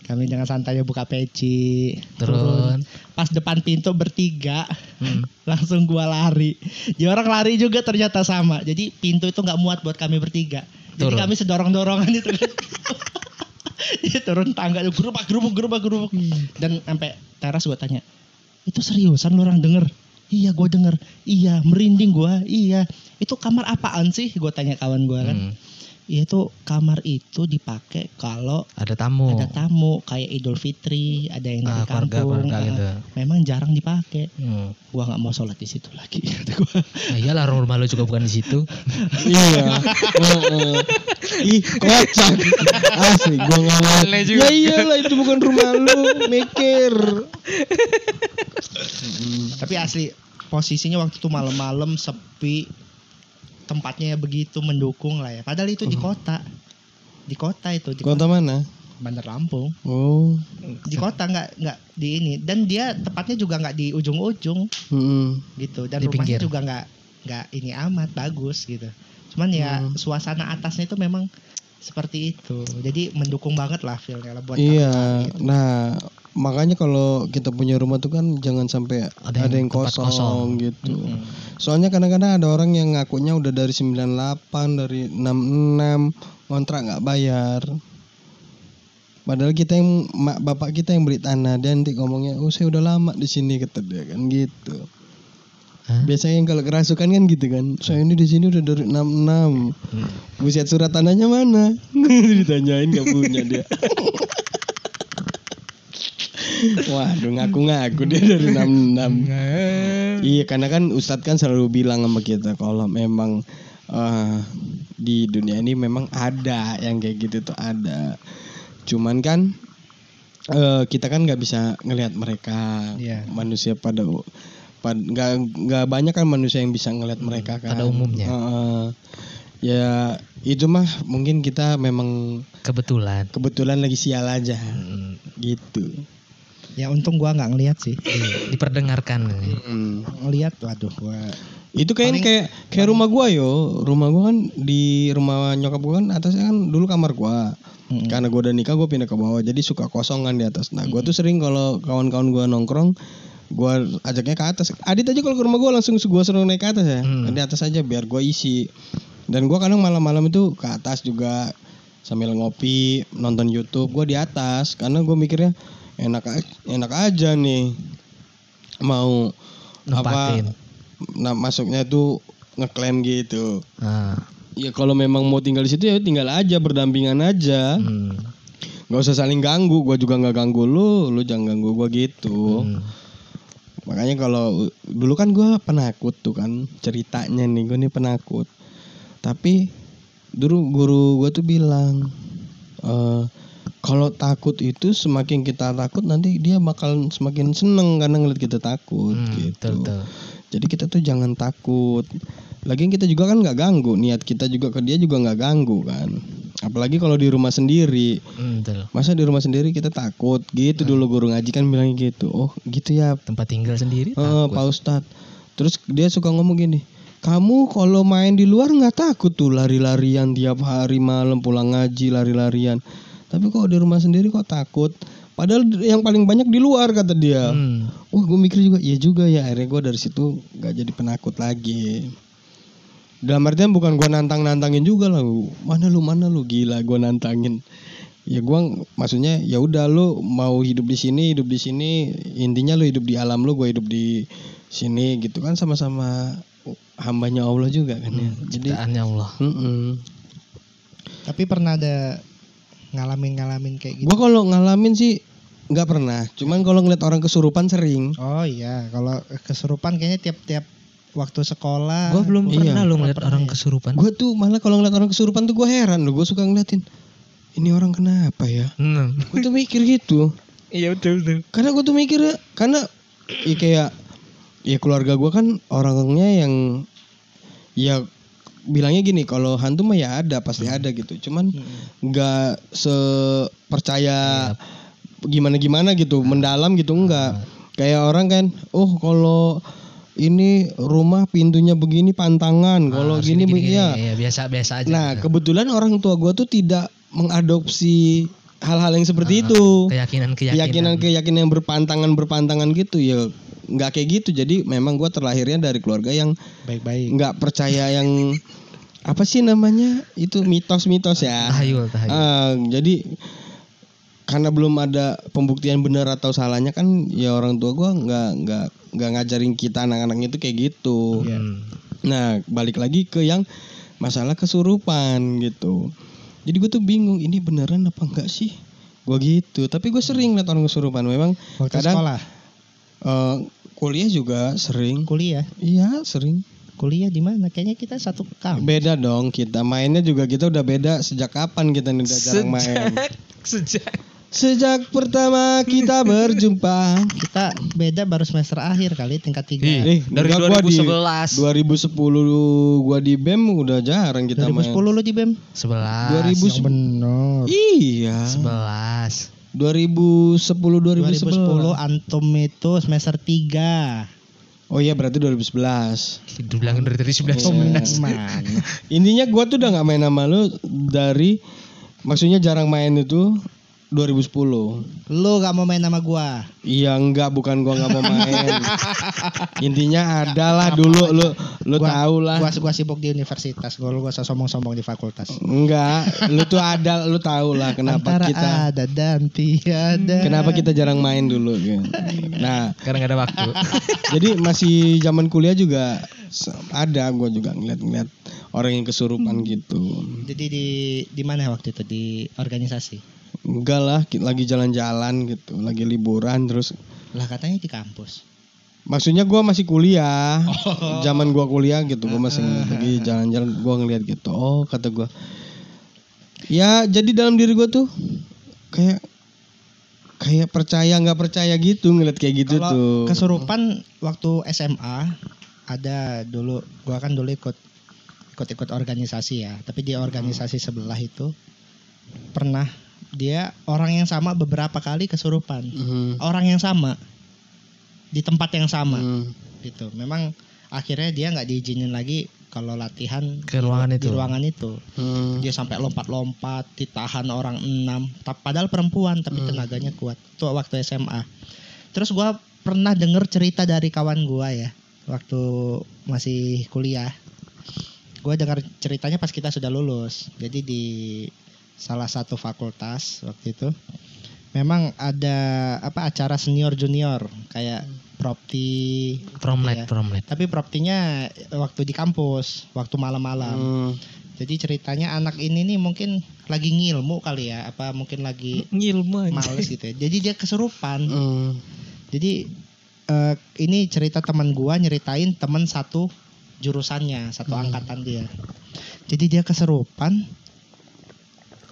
C: kami dengan santainya buka peci
B: Turun.
C: pas depan pintu bertiga
B: Hmm.
C: langsung gua lari ya orang lari juga ternyata sama jadi pintu itu nggak muat buat kami bertiga jadi
B: Turun.
C: kami sedorong dorongan itu Jadi turun tangga gerubak gerubuk gerubak gerubuk dan sampai teras gua tanya itu seriusan lu orang denger iya gua denger iya merinding gua iya itu kamar apaan sih gua tanya kawan gua kan
B: Hmm.
C: iya itu kamar itu dipakai kalau
B: Ada tamu.
C: ada tamu kayak Idul Fitri ada yang
B: Oh.
C: dari
B: Ah, keluarga
C: kampung
B: keluarga
C: ah,
B: gitu.
C: memang jarang dipakai
B: Hmm.
C: gua nggak mau sholat di situ lagi kata gua.
B: Ya iyalah rumah lu juga bukan di situ.
A: Iya. Heeh. Ih, kocak. Asli gua ngawat.
B: Aneh
A: Ya
B: juga.
A: iyalah itu bukan rumah lu, mikir.
C: tapi asli posisinya waktu itu malam-malam sepi tempatnya begitu mendukung lah ya padahal
B: Oh.
C: itu di kota di kota itu di
A: Kota mana?
C: Bandar Lampung
A: Oh.
C: di kota nggak nggak di ini dan dia tepatnya juga nggak di ujung-ujung
A: Mm-mm.
C: gitu dan
B: Di
C: rumahnya
B: pinggir.
C: juga nggak nggak ini amat bagus gitu cuman ya
A: Hmm.
C: suasana atasnya itu memang seperti itu jadi mendukung banget lah feelnya lah buat
A: Iya.
C: kami gitu.
A: Nah, makanya kalau kita punya rumah tuh kan jangan sampai ada yang,
B: tempat
A: kosong, gitu.
C: Mm-mm.
A: Soalnya kadang-kadang ada orang yang ngakunya udah dari 98, dari 66, kontrak nggak bayar. Padahal kita yang mak bapak kita yang beli tanah dia nanti ngomongnya, "Oh, saya udah lama di sini," kata dia kan gitu.
B: Hah?
A: Biasanya yang kalau kerasukan kan gitu kan. Saya ini di sini udah dari 66. Buset surat tanahnya mana? Ditanyain gak punya dia. Waduh ngaku-ngaku dia dari 66.
B: Hmm.
A: Iya karena kan Ustadz kan selalu bilang sama kita kalau memang eh, di dunia ini memang ada yang kayak gitu tuh ada. Cuman kan eh, kita kan nggak bisa ngelihat mereka
C: Iya.
A: manusia pada pad- nggak nggak banyak kan manusia yang bisa ngelihat mereka kan.
B: Hmm, pada umumnya.
A: Heeh. ya itu mah mungkin kita memang
B: Kebetulan.
A: kebetulan lagi sial aja
B: Hmm,
A: gitu.
C: ya untung gua nggak ngelihat sih
B: di- diperdengarkan.
A: Mm.
C: ngelihat waduh gua
A: Itu kayaknya
C: Paling-
A: kayak kayak rumah gua yo. Rumah gua kan di rumah nyokap gua kan atasnya kan dulu kamar gua.
C: Mm-mm.
A: Karena gua udah nikah gua pindah ke bawah jadi suka kosong kan di atas. Nah, gua tuh sering kalau kawan-kawan gua nongkrong gua ajaknya ke atas. Adit aja kalau ke rumah gua langsung gua suruh naik ke atas ya.
B: Hmm.
C: Mm.
A: Di atas aja biar gua isi. Dan gua kadang malam-malam itu ke atas juga sambil ngopi, nonton YouTube, gua di atas karena gua mikirnya enak a- enak aja nih mau
B: Nempatin.
A: apa nah masuknya tuh ngeklaim gitu
B: Ah,
A: ya kalau memang mau tinggal di situ ya tinggal aja berdampingan aja
B: hmm,
A: nggak usah saling ganggu gua juga nggak ganggu lu lu jangan ganggu gua gitu
B: hmm.
A: makanya kalau dulu kan gua penakut tuh kan ceritanya nih gua nih penakut tapi dulu guru gua tuh bilang eh kalau takut itu semakin kita takut nanti dia bakal semakin seneng karena ngeliat kita takut
B: Hmm,
A: gitu
B: betul, betul.
A: jadi kita tuh jangan takut. Lagian kita juga kan nggak ganggu, niat kita juga ke dia juga nggak ganggu kan. Apalagi kalau di rumah sendiri.
B: Hmm, betul.
A: Masa di rumah sendiri kita takut gitu dulu guru ngaji kan bilang gitu. Oh, gitu ya.
B: Tempat tinggal sendiri.
A: Eh, Pak Ustad. Terus dia suka ngomong gini, kamu kalau main di luar nggak takut tuh lari-larian tiap hari malam pulang ngaji lari-larian. Tapi kok di rumah sendiri kok takut? Padahal yang paling banyak di luar kata dia.
B: Hmm,
A: Wah gue mikir juga Iya juga ya Akhirnya gue dari situ Gak jadi penakut lagi Dalam artian bukan gue nantang-nantangin juga lah Mana lu mana lu Gila gue nantangin Ya gue Maksudnya ya udah lu Mau hidup di sini Hidup di sini Intinya lu hidup di alam lu Gue hidup di sini gitu kan Sama-sama Hambanya Allah juga kan ya Jadi
B: Hmm, ciptaannya Allah.
A: mm
C: tapi pernah ada ngalamin ngalamin kayak gitu
A: Gue kalau ngalamin sih nggak pernah Cuman kalau ngeliat orang kesurupan sering
C: oh iya kalau keserupan kayaknya tiap-tiap waktu sekolah
B: Gua belum
A: Iya.
B: pernah lo ngeliat
C: Pernah
B: orang
C: ya.
B: kesurupan.
A: Gue tuh malah kalau ngeliat orang kesurupan tuh gue heran loh. Gue suka ngeliatin. Ini orang kenapa ya?
B: Hmm.
A: Gue tuh mikir gitu.
B: Iya betul betul.
A: Karena gue tuh mikir karena ya kayak ya keluarga gue kan orangnya yang ya bilangnya gini kalau hantu mah ya ada pasti ada gitu. Cuman
C: Mm-mm.
A: nggak sepercaya gimana gimana gitu mendalam gitu enggak kayak orang kan oh kalau ini rumah pintunya begini pantangan
B: Ah,
A: kalau gini, begini ya
B: biasa biasa Iya, aja.
A: Nah,
B: gitu.
A: kebetulan orang tua gua tuh tidak mengadopsi hal-hal yang
B: Ah.
A: seperti itu.
B: keyakinan keyakinan.
A: Keyakinan-keyakinan yang berpantangan-berpantangan gitu ya nggak kayak gitu. Jadi memang gua terlahirnya dari keluarga yang
C: baik-baik
A: nggak percaya yang apa sih namanya? Itu mitos-mitos ya.
B: Tahayul tahayul.
A: Ah, jadi karena belum ada pembuktian benar atau salahnya kan ya orang tua gua nggak nggak nggak ngajarin kita anak-anak itu kayak gitu.
C: Iya.
B: Hmm.
A: Nah, balik lagi ke yang masalah kesurupan gitu. Jadi gue tuh bingung ini beneran apa enggak sih? Gue gitu. Tapi gue sering liat orang kesurupan. Memang
C: waktu
A: kadang-
C: sekolah
A: eh, kuliah juga sering.
C: kuliah
A: Iya sering.
C: kuliah di mana kayaknya kita satu kampus
A: Beda dong kita mainnya juga kita udah beda sejak kapan kita nih udah jarang main.
B: Sejak
A: Sejak pertama kita berjumpa.
C: Kita beda baru semester akhir kali tingkat tiga.
A: Ih,
D: dari
A: Eh, enggak, gua di-
D: 2011.
A: 2010 gua di BEM udah jarang kita
C: 2010
A: main.
C: lu di E BEM?
B: 11
C: Ah,
A: 2010.
C: Benar.
A: Iya.
B: 11
A: 2010 2011.
C: 2010 antum itu semester 3.
A: Oh iya berarti 2011.
B: Dibilangin dari tadi
A: Iya.
B: 11
C: Man.
A: Intinya gua tuh udah nggak main sama lu dari maksudnya jarang main itu 2010.
C: Lu gak mau main sama gua.
A: Iya enggak bukan gua nggak mau main. Intinya adalah dulu lu lu
C: Gua-
A: tahu lah.
C: Gua gua sibuk di universitas, gua lu gua usah sombong-sombong di fakultas.
A: Enggak, lu tuh ada lu tahu lah kenapa
C: Antara
A: kita
C: ada dan tiada.
A: kenapa kita jarang main dulu gitu. Nah,
B: Karena gak ada waktu
A: jadi masih zaman kuliah juga se- ada gua juga ngeliat-ngeliat orang yang kesurupan gitu.
C: Jadi di di mana waktu itu di organisasi?
A: Enggak lah, ki- lagi jalan-jalan gitu, lagi liburan terus
C: Lah katanya di kampus.
A: maksudnya gua masih kuliah.
C: Oh.
A: Zaman gua kuliah gitu, gua masih lagi jalan-jalan gua ngeliat gitu. Oh, kata gua. Ya, jadi dalam diri gua tuh kayak kayak percaya nggak percaya gitu ngeliat kayak gitu tuh.
C: Kalau kesurupan waktu SMA ada dulu gua kan dulu ikut ikut-ikut organisasi ya, tapi di organisasi sebelah itu pernah dia orang yang sama beberapa kali kesurupan.
A: Mhm.
C: orang yang sama di tempat yang sama
A: Hmm.
C: gitu. Memang akhirnya dia nggak diizinin lagi kalau latihan
B: Ke ruangan
C: di
B: itu
C: ruangan itu.
A: Hmm.
C: Dia sampai lompat-lompat, ditahan orang enam. Ta- Padahal perempuan tapi tenaganya kuat. Itu waktu SMA. Terus gua pernah denger cerita dari kawan gua ya waktu masih kuliah. Gua dengar ceritanya pas kita sudah lulus. Jadi di salah satu fakultas waktu itu memang ada apa acara senior junior kayak propti
B: Prom night
C: Iya.
B: Prom night
C: tapi proptinya waktu di kampus waktu malam-malam
A: Hmm.
C: jadi ceritanya anak ini nih mungkin lagi ngilmu kali ya, apa mungkin lagi
B: Ngilmu
C: males gitu ya. Jadi dia keserupan.
A: Hmm.
C: Jadi eh, ini cerita teman gua nyeritain teman satu jurusannya, satu angkatan dia. Jadi dia keserupan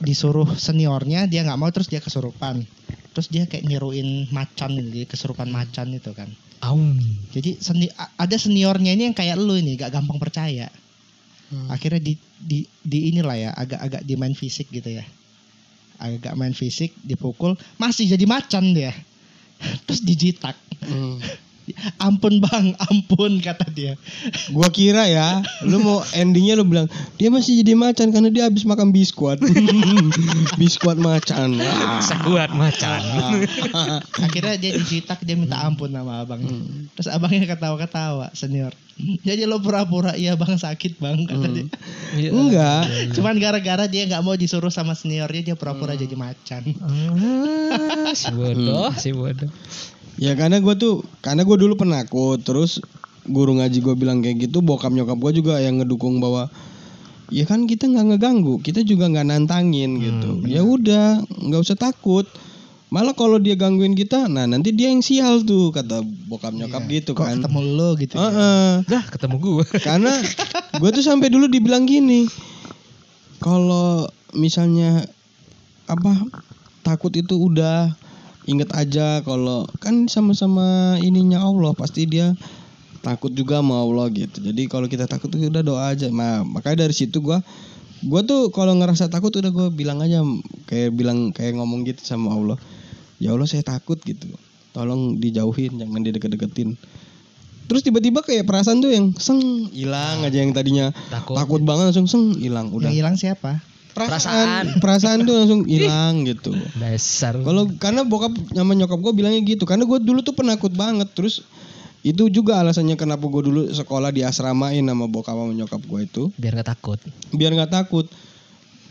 C: disuruh seniornya dia nggak mau terus dia kesurupan. Terus dia kayak nyeruin macan gitu, jadi kesurupan macan itu kan.
B: Aung
C: Jadi seni- a- ada seniornya ini yang kayak lu ini gak gampang percaya.
A: Hmm.
C: Akhirnya di di di inilah ya agak-agak di main fisik gitu ya. Agak main fisik dipukul masih jadi macan dia. Terus dijitak.
A: Hmm.
C: Ampun Bang, ampun kata dia.
A: Gua kira ya, lu mau endingnya lu bilang dia masih jadi macan karena dia habis makan biskuit. biskuit macan. Wah.
B: Sekuat macan
C: Akhirnya dia dijitak dia minta ampun sama abang. Terus abangnya ketawa-ketawa senior. Jadi lo pura-pura iya Bang sakit Bang kata dia.
A: Enggak.
C: Cuman gara-gara dia nggak mau disuruh sama seniornya dia pura-pura jadi macan.
B: Ah, Si bodoh Si bodoh
A: Ya karena gua tuh karena gua dulu penakut, terus guru ngaji gua bilang kayak gitu, bokap nyokap gua juga yang ngedukung bahwa ya kan kita nggak ngeganggu, kita juga nggak nantangin
C: Hmm,
A: gitu. Ya udah, nggak usah takut. Malah kalau dia gangguin kita, nah nanti dia yang sial tuh kata bokap nyokap gitu
C: Iya, Kok
A: kan.
C: ketemu lo gitu. ya?
A: Heeh.
B: Dah ketemu gue
A: Karena gue tuh sampai dulu dibilang gini, kalau misalnya apa takut itu udah inget aja kalau kan sama-sama ininya Allah pasti dia takut juga sama Allah gitu. Jadi kalau kita takut itu udah doa aja. Nah, makanya dari situ gua gua tuh kalau ngerasa takut udah gua bilang aja kayak bilang kayak ngomong gitu sama Allah. Ya Allah saya takut gitu. Tolong dijauhin jangan dideket-deketin. Terus tiba-tiba kayak perasaan tuh yang seng hilang aja yang tadinya
B: Takut.
A: takut banget langsung seng hilang udah
C: Yang hilang siapa?
A: perasaan perasaan tuh langsung hilang gitu
B: Dasar
A: kalau karena bokap sama nyokap gue bilangnya gitu karena gue dulu tuh penakut banget terus itu juga alasannya kenapa gue dulu sekolah di asramain sama bokap sama nyokap gue itu
B: Biar gak takut
A: biar nggak takut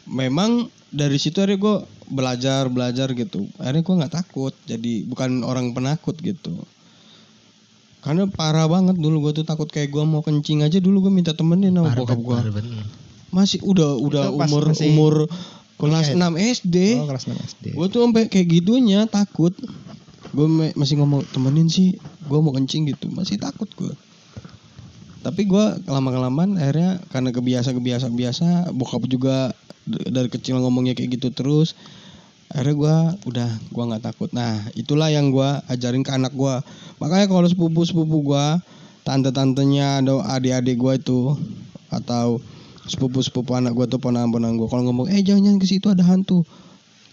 A: memang dari situ akhirnya gue belajar belajar gitu akhirnya gue nggak takut jadi bukan orang penakut gitu karena parah banget dulu gue tuh takut kayak gue mau kencing aja dulu gue minta temenin sama
B: Barbet,
A: Oh, bokap gue
B: barbet.
A: masih udah udah
C: Itu pas
A: umur
C: masih
A: umur kelas
C: kuliah ya?
A: 6 SD
C: Oh, kelas 6 SD.
A: gue tuh sampai kayak gitunya takut gue masih ngomong temenin sih gue mau kencing gitu masih takut gue tapi gue lama kelamaan akhirnya karena kebiasa kebiasa biasa bokap juga d- dari kecil ngomongnya kayak gitu terus akhirnya gua udah gua nggak takut nah itulah yang gua ajarin ke anak gua makanya kalau sepupu sepupu gua tante tantenya atau adik-adik gua itu atau sepupu sepupu anak gua tuh ponakan ponakan gua kalau ngomong eh jangan jangan ke situ ada hantu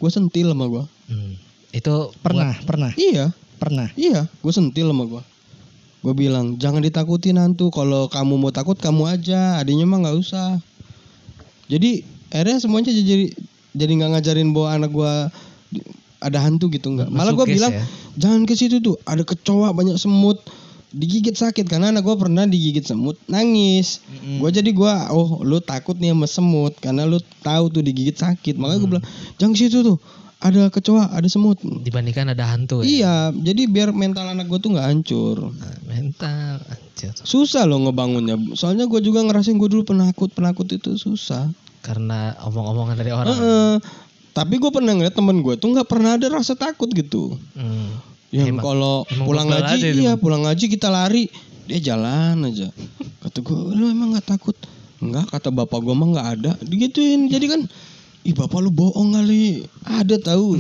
A: gua sentil sama gua
B: Hmm. Itu
C: Pernah, pernah,
A: iya
C: pernah.
A: Iya, gue sentil sama gue. Gue bilang jangan ditakutin hantu. Kalau kamu mau takut kamu aja. Adiknya mah nggak usah. Jadi akhirnya semuanya jadi jadi nggak ngajarin bahwa anak gue ada hantu gitu nggak. Malah gue
B: Nge-suggest
A: bilang
B: ya.
A: jangan ke situ tuh. Ada kecoa banyak semut. Digigit sakit karena anak gue pernah digigit semut nangis. Gue jadi gue oh lu takut nih sama semut karena lu tahu tuh digigit sakit. Makanya gue bilang jangan ke situ tuh. Ada kecoa, ada semut.
B: buat dibandingkan ada hantu ya.
A: Iya, jadi biar mental anak gue tuh nggak hancur.
B: Nah, mental anjir.
A: Susah loh ngebangunnya. Soalnya gue juga ngerasain gue dulu penakut, penakut itu susah.
B: Karena omong-omongan dari orang.
A: Heeh. Tapi gue pernah ngeliat temen gue tuh nggak pernah ada rasa takut gitu.
B: Hmm.
A: Yang
B: Emang-
A: kalau
B: emang
A: pulang
B: bekal aja itu,
A: ngaji, iya pulang ngaji kita lari, dia jalan aja. Kata gue, lu emang nggak takut? Enggak, kata bapak gue mah nggak ada. Digituin, jadi kan, ih bapak lu bohong kali. Ada tahu?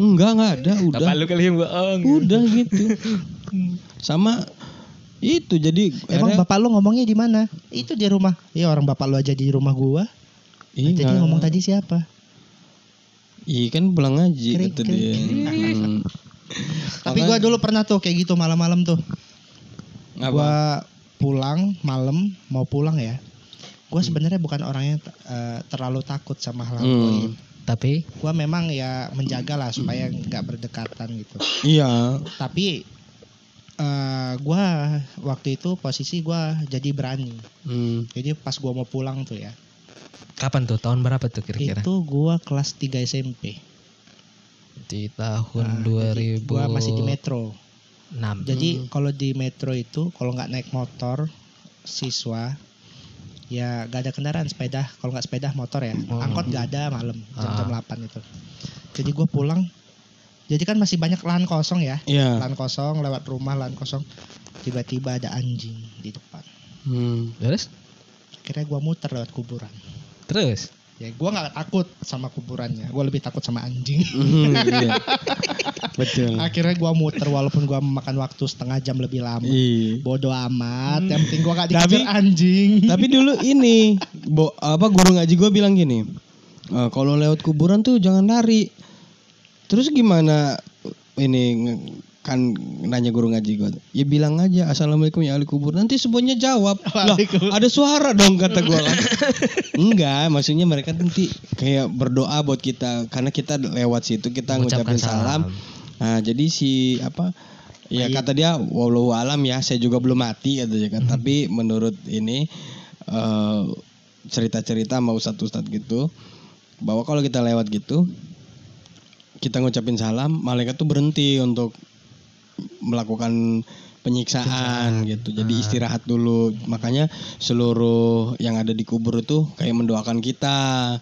A: Enggak nggak ada, udah.
B: Bapak lu kali yang bohong.
C: Iya.
A: udah gitu sama itu jadi
C: Emang
A: akhirnya-
C: bapak lu ngomongnya di mana? Itu di rumah. Iya orang bapak lu aja di rumah gua.
A: Ih,
C: Tadi
A: nggak-
C: ngomong tadi siapa?
A: Ih, iya. kan pulang ngaji
C: Krik,
A: kata
C: krik,
A: dia Hmm.
C: Tapi gua dulu pernah tuh kayak gitu malam-malam tuh.
A: Apa?
C: Gua pulang malam mau pulang ya. Gua sebenarnya bukan orangnya eh, terlalu takut sama hal-hal
A: Hmm.
C: gaib.
B: Tapi
C: Gua memang ya menjaga lah supaya nggak berdekatan gitu.
A: iya
C: Tapi eh gua waktu itu posisi gua jadi berani.
A: Hmm.
C: Jadi pas gua mau pulang tuh ya.
B: kapan tuh? Tahun berapa tuh kira-kira?
C: Itu gua kelas 3 SMP.
B: Di tahun
C: Nah, jadi
B: 2006.
C: Gua masih di metro.
A: Hmm.
C: Jadi kalau di metro itu kalau nggak naik motor siswa ya gak ada kendaraan sepeda kalau nggak sepeda motor ya
B: Hmm.
C: angkot gak ada malam
A: Ah.
C: jam-jam 8 itu jadi gue pulang jadi kan masih banyak lahan kosong ya
A: iya
C: lahan kosong lewat rumah lahan kosong tiba-tiba ada anjing di depan
A: Hmm.
B: Terus?
C: akhirnya gue muter lewat kuburan
B: Terus?
C: ya gue nggak takut sama kuburannya gue lebih takut sama anjing
A: Iya. betul
C: akhirnya gue muter walaupun gue memakan waktu setengah jam lebih lama
A: Iya.
C: Bodoh amat, yang penting gua gak
A: Tapi-
C: dikejar anjing.
A: tapi dulu ini bo, apa guru ngaji gue bilang gini "Eh, kalau lewat kuburan tuh jangan lari terus gimana eh, ini nge- kan nanya guru ngaji gue ya bilang aja assalamualaikum ya ahli kubur nanti semuanya jawab lah
C: Waalaikumsalam.
A: ada suara dong kata gue kan enggak maksudnya mereka nanti kayak berdoa buat kita karena kita lewat situ kita
B: Mengucapkan
A: ngucapin salam Nah, jadi si apa ya kata dia walau alam ya saya juga belum mati katanya kan. Tapi menurut ini eh, cerita-cerita sama ustadz-ustadz gitu bahwa kalau kita lewat gitu kita ngucapin salam, malaikat tuh berhenti untuk melakukan penyiksaan gitu. Jadi istirahat dulu. Makanya seluruh yang ada di kubur itu kayak mendoakan kita.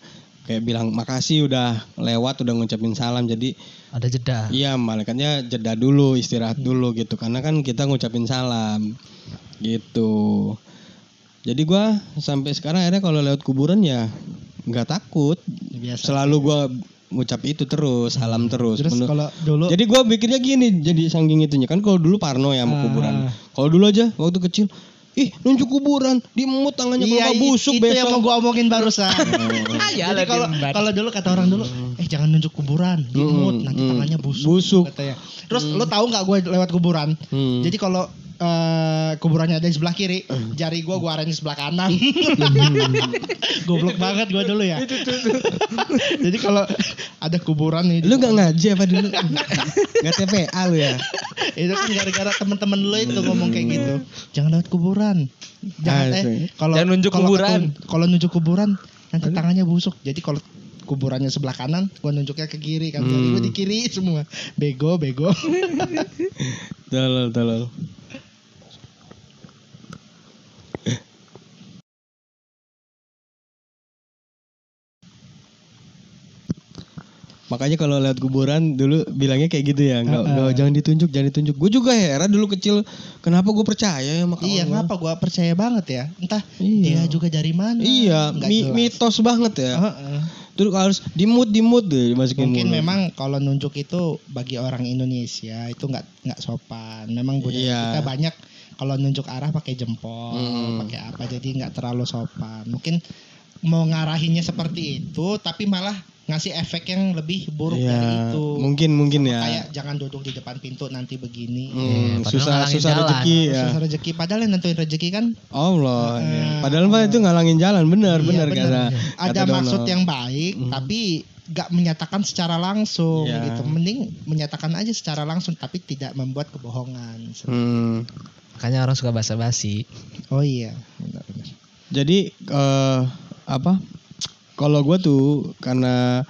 A: Kayak bilang makasih udah lewat, udah ngucapin salam. Jadi
B: Ada jeda.
A: Iya, malaikatnya jeda dulu,
C: Iya.
A: istirahat dulu gitu. Karena kan kita ngucapin salam. Gitu. Jadi gua sampai sekarang akhirnya kalau lewat kuburan ya nggak takut.
C: Ya, Biasa.
A: Selalu gua ngucap itu terus, salam terus.
C: Iya, Terus
A: Menur-
C: kalau dulu
A: jadi gua bikinnya gini, jadi sangging itunya kan kalau dulu parno ya
C: Ah.
A: sama kuburan. Kalau dulu aja waktu kecil, ih nunjuk kuburan, diemut tangannya kalau nggak
C: i-
A: busuk
C: iya, itu yang mau
A: besok.
C: gua omongin barusan.
B: Ah, iya,
C: Jadi kalau kalau dulu kata orang dulu, Iya, eh jangan nunjuk kuburan, diemut
A: Mm,
C: nanti
A: mm.
C: tangannya busuk. Hmm.
A: Busuk.
C: katanya. Terus lu tahu nggak gua lewat kuburan?
A: Hmm.
C: Jadi kalau eh, kuburannya ada di sebelah kiri, jari gua gua arahin di sebelah kanan. Goblok banget gua dulu ya. Jadi kalau ada kuburan nih,
A: Lu nggak ngaji apa dulu? Gak TPA lu ya?
C: itu kan gara-gara teman-teman lo itu ngomong kayak gitu jangan lewat kuburan jangan
A: Ah,
C: eh
A: itu.
C: kalau
B: Jangan nunjuk
C: kalau
B: kuburan.
C: ketun- kalau nunjuk kuburan nanti tangannya busuk jadi kalau kuburannya sebelah kanan gua nunjuknya ke kiri kan jadi gua di kiri semua bego bego
A: Tolol, tolol. Makanya kalau lewat kuburan dulu bilangnya kayak gitu ya, nggak nggak, jangan ditunjuk, jangan ditunjuk. Gue juga heran dulu kecil, kenapa gue percaya ya sama kawan-kawan.
C: iya kenapa gua percaya banget ya entah
A: Iya.
C: dia juga dari mana
A: Iya,
C: Nggak
A: mi-
C: jelas.
A: mitos banget ya.
C: Heeh.
A: Terus harus dimut dimut deh masukin
C: Mungkin
A: mulut.
C: memang kalau nunjuk itu bagi orang Indonesia itu nggak nggak sopan. Memang budaya
A: Iya.
C: kita banyak kalau nunjuk arah pakai jempol,
A: Hmm.
C: pakai apa jadi nggak terlalu sopan. Mungkin mau ngarahinnya seperti itu tapi malah ngasih efek yang lebih buruk
A: Iya,
C: dari itu.
A: Mungkin mungkin ya.
C: Kayak jangan duduk di depan pintu nanti begini.
A: Hmm,
B: Iya, padahal
A: susah
B: ngalangin
A: susah
B: jalan.
A: rezeki ya.
C: Susah rezeki padahal yang nentuin rezeki kan
A: Allah. ya.
C: Eh,
A: Padahal mah itu ngalangin jalan bener
C: Iya,
A: bener
C: bener.
A: kata.
C: ada
A: kata
C: maksud
A: Dono.
C: yang baik
A: Mhm.
C: tapi nggak menyatakan secara langsung
A: Iya.
C: gitu mending menyatakan aja secara langsung tapi tidak membuat kebohongan
A: Hmm.
B: Makanya orang suka basa-basi.
C: oh iya benar, benar.
A: Jadi eh apa? Kalau gua tuh karena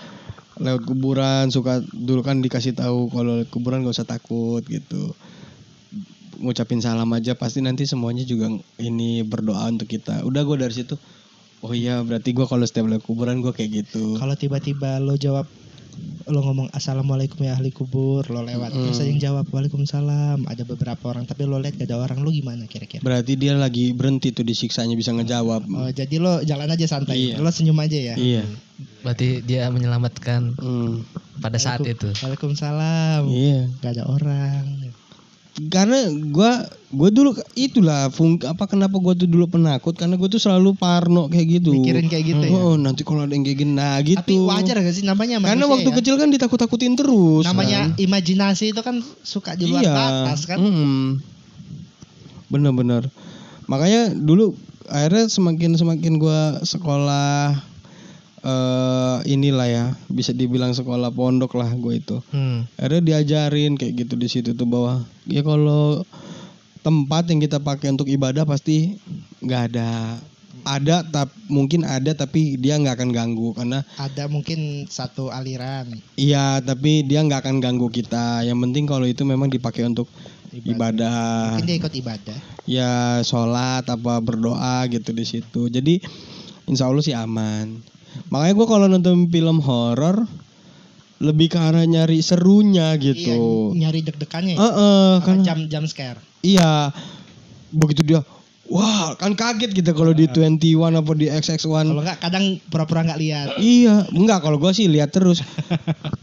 A: lewat kuburan suka dulu kan dikasih tahu kalau lewat kuburan gak usah takut gitu. Ngucapin salam aja pasti nanti semuanya juga ini berdoa untuk kita. Udah gua dari situ. Oh iya berarti gua kalau setiap lewat kuburan gua kayak gitu.
C: kalau tiba-tiba lo jawab lo ngomong assalamualaikum ya ahli kubur lo lewat
A: Mm.
C: terus ada yang jawab waalaikumsalam ada beberapa orang tapi lo lihat gak ada orang lo gimana kira-kira
A: Berarti dia lagi berhenti tuh disiksanya bisa ngejawab.
C: oh, jadi lo jalan aja santai
A: Mm. Iya.
C: lo senyum aja ya
A: Iya.
B: Berarti dia menyelamatkan
A: Hmm.
C: Nah,
B: pada saat itu.
C: waalaikumsalam
A: Iya.
C: gak ada orang
A: karena gua gua dulu itulah fung, apa kenapa gua tuh dulu penakut karena gua tuh selalu parno kayak gitu.
C: mikirin kayak gitu ya
A: Oh, nanti kalau ada yang kayak gini nah gitu.
C: tapi wajar gak sih namanya
A: Karena
C: manusia
A: waktu
C: ya?
A: kecil kan ditakut-takutin terus.
C: namanya
A: kan.
C: imajinasi itu kan suka di luar
A: iya.
C: batas kan
A: Mm-mm. Bener-bener. Makanya dulu akhirnya semakin semakin gua sekolah eh inilah ya bisa dibilang sekolah pondok lah gue itu
B: Hmm.
A: akhirnya diajarin kayak gitu di situ tuh bahwa ya kalau tempat yang kita pakai untuk ibadah pasti nggak ada ada tap, mungkin ada tapi dia nggak akan ganggu karena
C: ada mungkin satu aliran
A: iya tapi dia nggak akan ganggu kita yang penting kalau itu memang dipakai untuk ibadah Ah.
C: mungkin dia ikut ibadah
A: ya sholat apa berdoa gitu di situ jadi insya Allah sih aman makanya gua kalau nonton film horor lebih ke arah nyari serunya
C: iya
A: gitu
C: nyari deg-degannya ya.
A: Heeh, karena
C: jam jam scare
A: Iya. Begitu dia wah kan kaget kita kalau di 21 apa di
C: kalau
A: XX1.
C: nggak kadang pura-pura nggak lihat
A: Iya, enggak kalau gua sih lihat terus.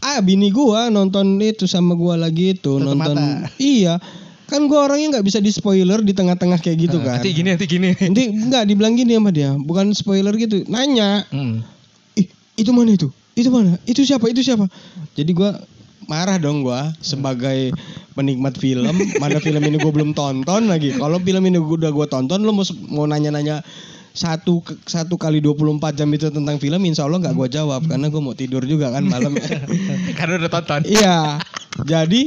A: ah, bini gua nonton itu sama gua lagi itu
C: Tutup
A: nonton.
C: mata.
A: Iya. Kan gua orangnya nggak bisa di spoiler di tengah-tengah kayak gitu kan.
B: Nah, Nanti gini, nanti gini.
A: Nanti enggak dibilang gini sama dia, bukan spoiler gitu. Nanya,
B: Hmm.
A: "Ih, itu mana itu? Itu mana? Itu siapa? Itu siapa?" Jadi gua marah dong gua sebagai penikmat film mana film ini gue belum tonton lagi kalau film ini gua udah gue tonton lo mau mau nanya-nanya satu ke- satu kali 24 jam itu tentang film insya Allah nggak gue jawab karena gue mau tidur juga kan malam
B: Karena udah tonton.
A: iya jadi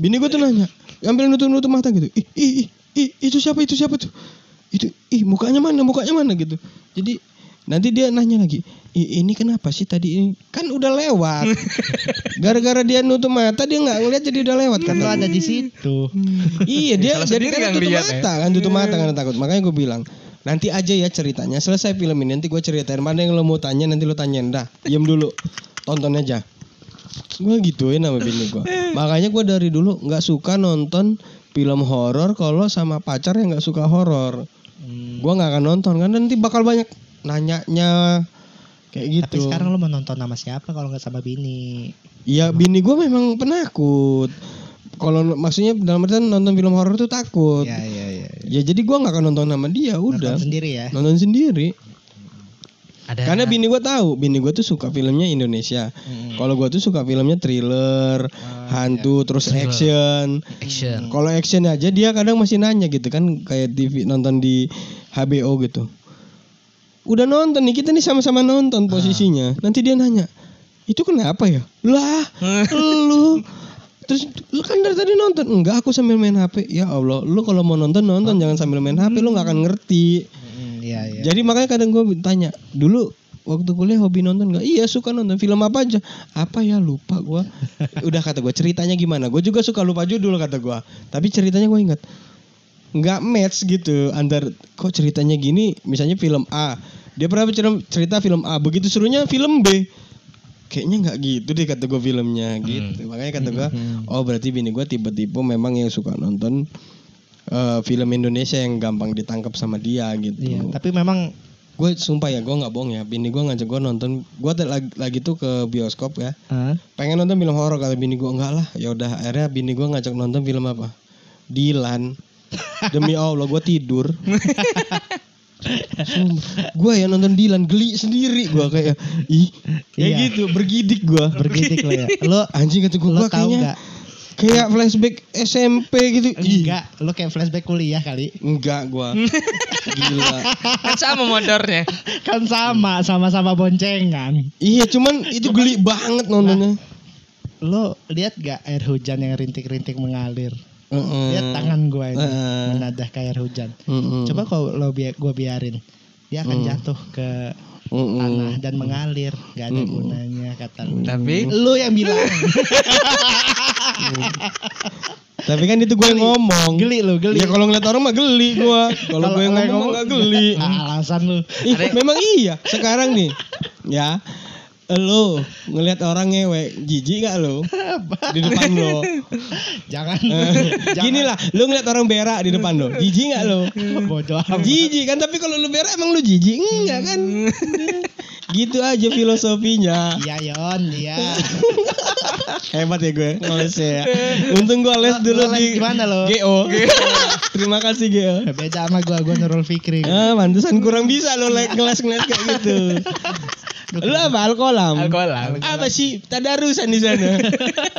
A: bini gue tuh nanya ambil nutup nutup mata gitu ih ih ih, ih itu siapa itu siapa tuh itu ih mukanya mana mukanya mana gitu jadi nanti dia nanya lagi ih ini kenapa sih tadi ini kan udah lewat gara-gara dia nutup mata dia nggak ngeliat jadi udah lewat
C: kan
A: kata
C: lo
A: gua.
C: ada di situ
A: Iya dia
B: Salah
A: jadi
B: sendiri
A: kan
B: nggak
A: tutup
B: ngeliat,
A: mata kan tutup mata karena takut. Makanya gue bilang nanti aja ya ceritanya selesai film ini nanti gue ceritain mana yang lo mau tanya nanti lo tanyain dah diam dulu tonton aja gue gituin sama bini gue makanya gue dari dulu nggak suka nonton film horor kalau sama pacar yang nggak suka horor
C: Hmm.
A: gue nggak akan nonton kan nanti bakal banyak nanyanya kayak
C: tapi
A: gitu
C: sekarang lo mau nonton sama siapa kalau nggak sama bini
A: Iya bini gue memang penakut kalau maksudnya dalam artian nonton film horor tuh takut
C: ya ya ya
A: Ya jadi gua nggak akan nonton sama dia, udah.
C: nonton sendiri ya
A: Nonton sendiri.
B: Ada
A: Karena bini gua tahu, bini gua tuh suka filmnya Indonesia.
C: Hmm.
A: Kalau gua tuh suka filmnya thriller,
C: iya.
A: hantu, terus action.
B: action.
A: Kalau action aja dia kadang masih nanya gitu kan kayak TV nonton di HBO gitu. Udah nonton nih, kita nih sama-sama nonton posisinya. Nanti dia nanya, "Itu kenapa ya?" Lah, lu Terus lu kan dari tadi nonton Enggak aku sambil main HP Ya Allah Lu kalau mau nonton nonton Jangan sambil main HP Lu gak akan ngerti
C: iya iya
A: Jadi makanya kadang gue tanya dulu waktu kuliah hobi nonton nggak? Iya suka nonton film apa aja? Apa ya lupa gua Udah kata gue ceritanya gimana? Gue juga suka lupa judul kata gua Tapi ceritanya gue ingat. Nggak match gitu antar kok ceritanya gini. Misalnya film A, dia pernah cer- cerita film A, begitu serunya film B. Kayaknya nggak gitu deh kata gue filmnya gitu. Makanya kata gua oh berarti bini gua tipe-tipe memang yang suka nonton eh, film Indonesia yang gampang ditangkap sama dia gitu.
C: Iya, tapi memang
A: gue sumpah ya gue nggak bohong ya bini gue ngajak gue nonton gue lagi, lagi tuh ke bioskop ya
D: Hah?
A: pengen nonton film horor kata bini gue enggak lah ya udah akhirnya bini gue ngajak nonton film apa Dilan demi Allah gue tidur gue ya nonton Dilan geli sendiri gue kayak ih kayak
D: Iya.
A: gitu bergidik gue
D: Bergidik lo ya. Lo
A: anjing kata gue
D: lo
A: gue
D: tahu
A: kayaknya
D: nggak?
A: kayak flashback SMP gitu Ih,
C: Enggak, lo kayak flashback kuliah kali.
A: enggak gue gila
B: kan sama motornya
C: Kan sama, sama-sama boncengan.
A: iya cuman itu geli banget nontonnya
C: Lo lihat gak air hujan yang rintik-rintik mengalir?
A: Heeh.
C: Lihat tangan gue ini
A: Hmm. Eh.
C: menadah kayak air hujan.
A: Heeh.
C: Coba kalau lo bi gue biarin, dia akan
A: Hmm.
C: jatuh ke
A: Heeh.
C: tanah dan mengalir.
A: Hmm.
C: Gak ada gunanya kata lo.
B: tapi
C: Lo yang bilang
A: tapi kan itu gue yang ngomong
C: geli lo geli.
A: Ya kalau ngeliat orang mah geli gua. Kalau
C: Kalau
A: gue yang
C: orang
A: ngomong mah nggak
C: ngomong-
A: geli. Mm.
C: Ah, alasan lo.
A: Ih, memang iya. Sekarang nih, ya lo ngelihat orang ngewe, jijik gak lo? Di depan lo.
C: Jangan.
A: Eh. Gini lah, lo ngeliat orang berak di depan lo, jijik gak lo?
C: Bodoh amat.
A: Jijik kan, tapi kalau lo berak emang lo jijik? Enggak kan?
C: Mm.
A: Gitu aja filosofinya.
C: Iya Yon, iya.
A: Hebat ya gue ngelesnya ya. Untung gue les dulu
C: Lo
A: di
C: les gimana lo?
A: GO. Terima kasih GO.
C: Beda sama gua, gua Nurul Fikri.
A: Ah, mantesan kurang bisa lo le- ngeles-ngeles kayak gitu. lo apa alkoholam?
C: Hmm.
B: alkohol
A: Apa sih tadarusan di sana?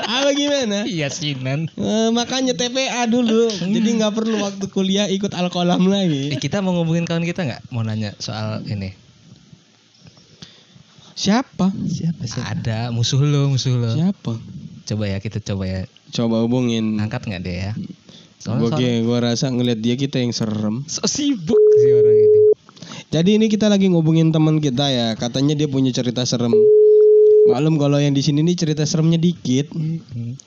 A: apa gimana?
B: iya sinan
A: Eh, makanya TPA dulu. Jadi nggak perlu waktu kuliah ikut alkoholam
B: eh,
A: lagi.
B: kita mau ngubungin kawan kita nggak mau nanya soal ini
A: Siapa?
C: Siapa sih?
B: ada musuh lo musuh lo
A: Siapa?
B: coba ya kita coba ya
A: Coba hubungin.
B: angkat nggak deh ya soalnya
A: Gue gue rasa ngeliat dia kita yang serem.
B: so sibuk sih orang ini
A: Jadi ini kita lagi ngubungin teman kita ya. Katanya dia punya cerita serem. Maklum kalau yang di sini nih cerita seremnya dikit.
B: Hmm.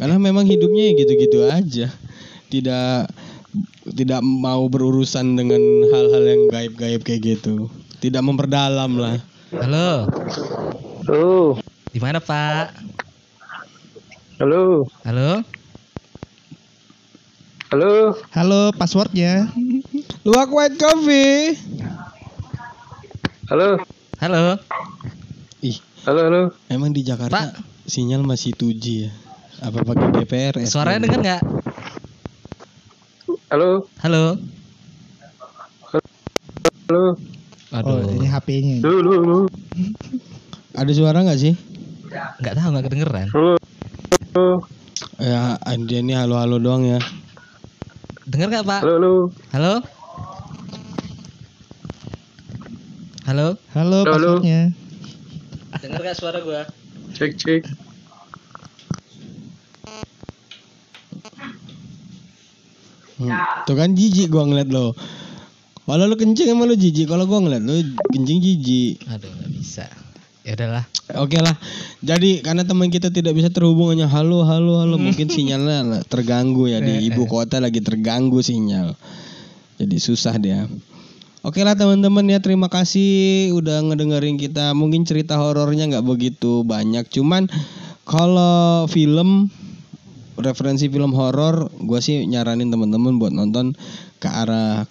A: Karena memang hidupnya ya gitu-gitu aja. Tidak tidak mau berurusan dengan hal-hal yang gaib-gaib kayak gitu. Tidak memperdalam lah.
B: halo
E: Halo,
B: di mana pak
E: halo,
B: halo
E: halo,
C: Halo, passwordnya.
A: Luwak white coffee.
E: halo,
B: halo
A: Ih,
E: halo, halo.
A: emang di Jakarta sinyal masih 2G ya? Apa pakai DPR? SD?
B: suaranya dengar nggak
E: Halo,
B: halo
E: halo,
C: Oh, ini
B: aduh
C: HP-nya.
E: halo, halo, halo,
A: Ada suara nggak sih?
B: nggak tahu nggak kedengeran
E: halo, halo,
A: Ya, dia ini halo-halo doang ya.
B: dengar nggak pak
E: halo, halo,
B: halo halo
C: Halo,
E: Halo.
C: passwordnya.
B: dengar nggak suara gua
E: cek, cek.
A: Hmm. Tuh kan jijik gua ngeliat lo. Kalau lo kencing emang lo jijik. Kalau gua ngeliat lo kencing jijik.
B: aduh nggak bisa ya udahlah
A: Oke lah. Jadi karena teman kita tidak bisa terhubung hanya halo halo halo mungkin sinyalnya lah terganggu ya di ibu kota lagi terganggu sinyal. Jadi susah dia. Oke lah teman-teman ya terima kasih udah ngedengerin kita. Mungkin cerita horornya nggak begitu banyak cuman kalau film referensi film horor gue sih nyaranin temen-temen buat nonton ke arah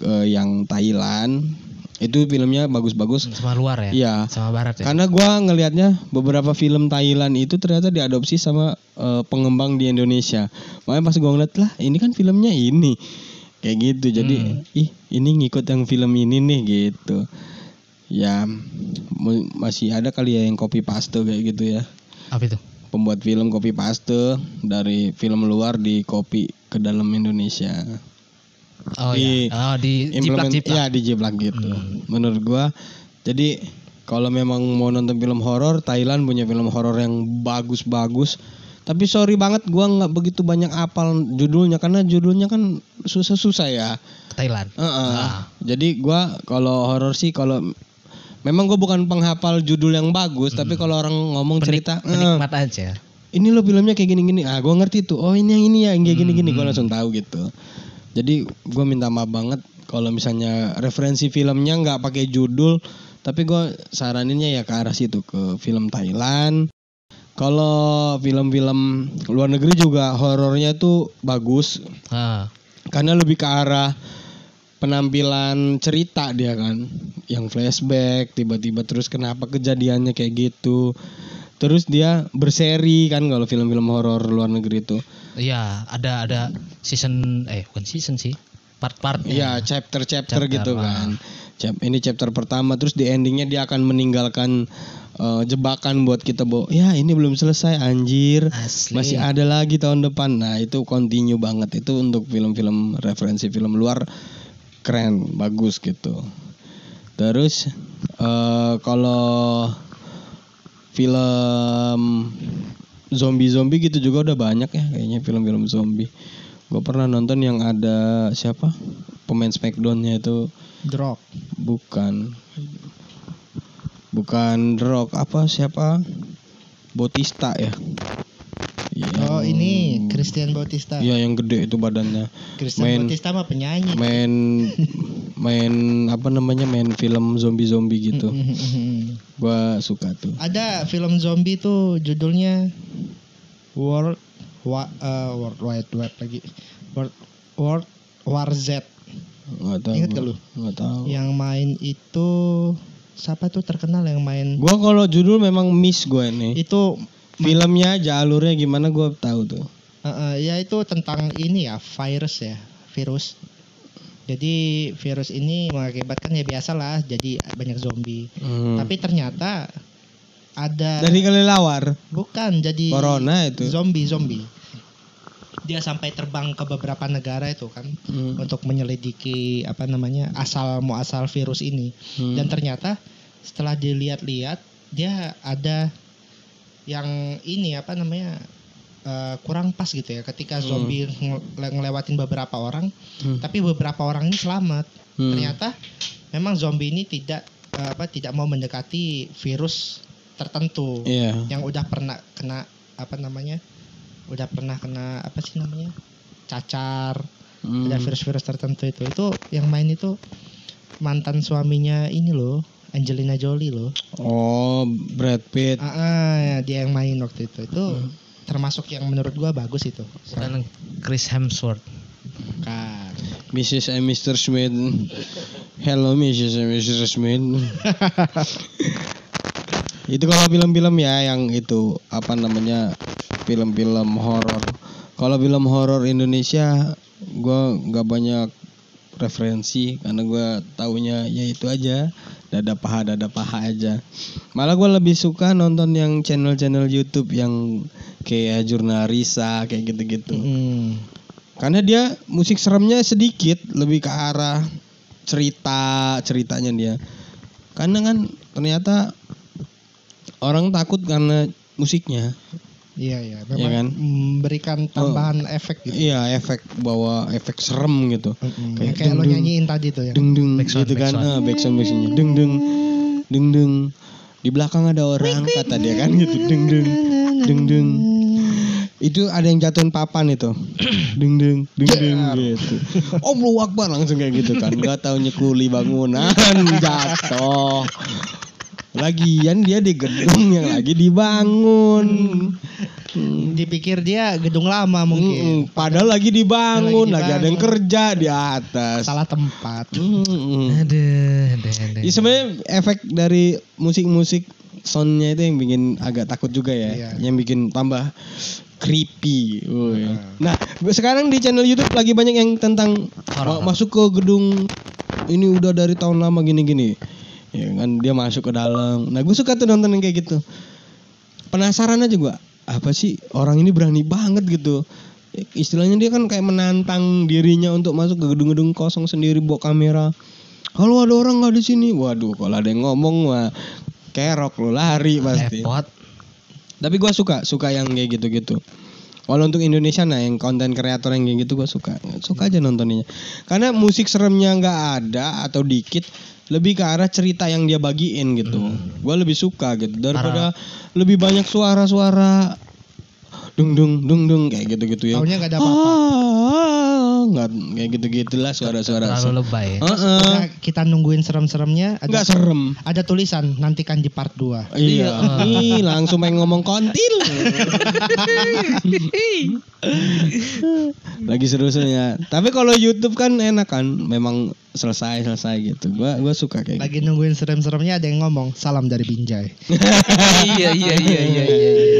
A: eh, yang Thailand itu filmnya bagus-bagus
B: sama luar ya
A: Iya.
B: sama barat ya
A: karena gua ngelihatnya beberapa film Thailand itu ternyata diadopsi sama eh, pengembang di Indonesia. Makanya pas gua ngeliat lah, ini kan filmnya ini. Kayak gitu. Jadi ih, ini ngikut yang film ini nih gitu. Ya mu- masih ada kali ya yang copy paste kayak gitu ya.
B: apa itu
A: Pembuat film copy paste dari film luar di copy ke dalam Indonesia.
B: oh
A: Di-
B: iya oh di Hmm. jiplak
A: Implement-
B: jiplak
A: Ya, di jiplak gitu. Menurut gua jadi kalau memang mau nonton film horor, Thailand punya film horor yang bagus-bagus. Tapi sorry banget gua nggak begitu banyak apal judulnya karena judulnya kan susah-susah ya.
B: ke Thailand
A: Heeh.
B: Ah.
A: Jadi gua kalau horor sih kalau memang gue bukan penghafal judul yang bagus, tapi kalau orang ngomong cerita eh,
B: Hmm. penikmat aja
A: ini lo filmnya kayak gini-gini ah gue ngerti tuh oh ini yang ini ya yang kayak gini-gini gue langsung tahu gitu jadi gue minta maaf banget kalau misalnya referensi filmnya nggak pakai judul tapi gue saraninnya ya ke arah situ ke film Thailand kalau film-film luar negeri juga horornya tuh bagus
B: Ah,
A: karena lebih ke arah penampilan cerita dia kan yang flashback tiba-tiba terus kenapa kejadiannya kayak gitu terus dia berseri kan kalau film-film horor luar negeri itu
B: Iya, ada ada season eh bukan season sih. Part-part.
A: Iya chapter-chapter
B: Chapter,
A: gitu
B: ah.
A: kan Chap- ini chapter pertama terus di endingnya dia akan meninggalkan eh, jebakan buat kita bahwa ya ini belum selesai anjir
B: Asli.
A: masih ada lagi tahun depan nah itu continue banget itu untuk film-film referensi film luar keren bagus gitu terus eh kalau film zombie-zombie gitu juga udah banyak ya kayaknya film-film zombie gue pernah nonton yang ada siapa pemain Smackdownnya itu
C: Drop.
A: bukan bukan The Rock apa siapa Bautista ya Iya.
C: Oh ini Christian Bautista.
A: Iya yang gede itu badannya.
C: Christian
A: main-
C: Bautista mah penyanyi.
A: Main main apa namanya? Main film zombie-zombie gitu. Gua suka tuh.
C: Ada film zombie tuh judulnya World Wa, eh, World Wide Web lagi. World World War Z.
A: Enggak tahu.
C: Ingat
A: gua.
C: gak lu?
A: Nggak tahu.
C: Yang main itu siapa tuh terkenal yang main
A: Gua kalau judul memang miss gua ini.
C: itu
A: Filmnya aja alurnya gimana gua tahu tuh.
C: eh, eh, ya itu tentang ini ya virus ya virus. Jadi virus ini mengakibatkan ya biasalah jadi banyak zombie.
A: Hmm.
C: Tapi eh, ternyata ada
A: dari kelelawar,
C: bukan jadi
A: corona itu.
C: zombie zombie. Dia sampai terbang ke beberapa negara itu kan
A: Hmm.
C: untuk menyelidiki apa namanya asal muasal virus ini.
A: Hmm.
C: Dan ternyata setelah dilihat-lihat dia ada yang ini apa namanya eh, kurang pas gitu ya
A: Hmm.
C: ketika zombie ngele- ngelewatin beberapa orang,
A: Hmm.
C: tapi beberapa orang ini selamat
A: Hmm.
C: ternyata memang zombie ini tidak eh, apa tidak mau mendekati virus tertentu
A: Iya.
C: yang udah pernah kena apa namanya udah pernah kena apa sih namanya cacar
A: Hmm.
C: ada virus-virus tertentu itu itu yang main itu mantan suaminya ini loh Angelina Jolie loh
A: Oh, Brad Pitt.
C: ah, ah, dia yang main waktu itu itu
A: Hmm.
C: termasuk yang menurut gua bagus itu
B: Bukan Chris Hemsworth.
C: Bukan.
A: Mrs. and Mr. Smith. Hello Mrs. and Mr. Smith. itu kalau film-film ya yang itu apa namanya film-film horor. Kalau film horor Indonesia gua nggak banyak referensi karena gua taunya ya itu aja dada paha dada paha aja malah gua lebih suka nonton yang channel-channel YouTube yang kayak Jurnarisa kayak gitu-gitu
C: Mm.
A: karena dia musik seremnya sedikit lebih ke arah cerita ceritanya dia karena kan ternyata orang takut karena musiknya
C: iya iya memang
A: kan?
C: memberikan tambahan efek gitu
A: iya efek bawa efek serem gitu
C: Mm-mm.
A: Kayak
C: yang kayak lo
A: dung-dung.
C: nyanyiin tadi tuh ya. yang
A: deng deng
B: Backsound,
A: gitu kan
B: backsound.
A: ah, backsound backsoundnya deng deng deng deng di belakang ada orang kata dia kan gitu deng deng deng deng itu ada yang jatuhin papan itu deng deng deng deng gitu om lu akbar langsung kayak gitu kan nggak tahu nyekuli bangunan jatuh lagian dia di gedung yang lagi dibangun
C: dipikir dia gedung lama mungkin
A: Mm-mm. Hmm, padahal lagi dibangun lagi,
C: Lagi
A: ada yang
C: dibangun.
A: kerja di atas Hmm.
C: salah tempat
A: Mm-mm.
B: Aduh, aduh, aduh.
A: Ya sebenarnya efek dari musik-musik soundnya itu yang bikin agak takut juga
C: Iya.
A: ya, yang bikin tambah creepy. Woy. Nah, gue sekarang di channel YouTube lagi banyak yang tentang
B: Horor.
A: ma- masuk ke gedung ini udah dari tahun lama gini-gini. Ya kan dia masuk ke dalam. Nah, gue suka tuh nonton yang kayak gitu. Penasaran aja gua, apa sih orang ini berani banget gitu. Ya, Istilahnya dia kan kayak menantang dirinya untuk masuk ke gedung-gedung kosong sendiri bawa kamera. Kalau ada orang nggak di sini, waduh kalau ada yang ngomong mah kerok lu lari pasti.
B: Repot.
A: Tapi gua suka, suka yang kayak gitu-gitu. Kalau untuk Indonesia nah yang konten kreator yang kayak gitu gua suka, suka aja nontonnya. Karena musik seremnya nggak ada atau dikit, lebih ke arah cerita yang dia bagiin gitu. Gua lebih suka gitu daripada lebih banyak suara-suara dung dung dung dung kayak gitu-gitu ya.
C: Taunya nggak ada apa-apa.
A: Ah, nggak suara kayak gitu-gitu lah suara-suara.
B: terlalu lebay ya.
A: Heeh.
C: Nah, kita nungguin serem-seremnya ada
A: Enggak serem.
C: ada tulisan nantikan di part 2.
A: Iya, Ih, langsung main ngomong kontil. Lagi seru-serunya. Tapi kalau YouTube kan enak kan, memang selesai selesai gitu. Gua gua suka kayak.
C: Lagi nungguin serem-seremnya ada yang ngomong salam dari Binjai.
B: iya iya iya iya iya.
A: gitu.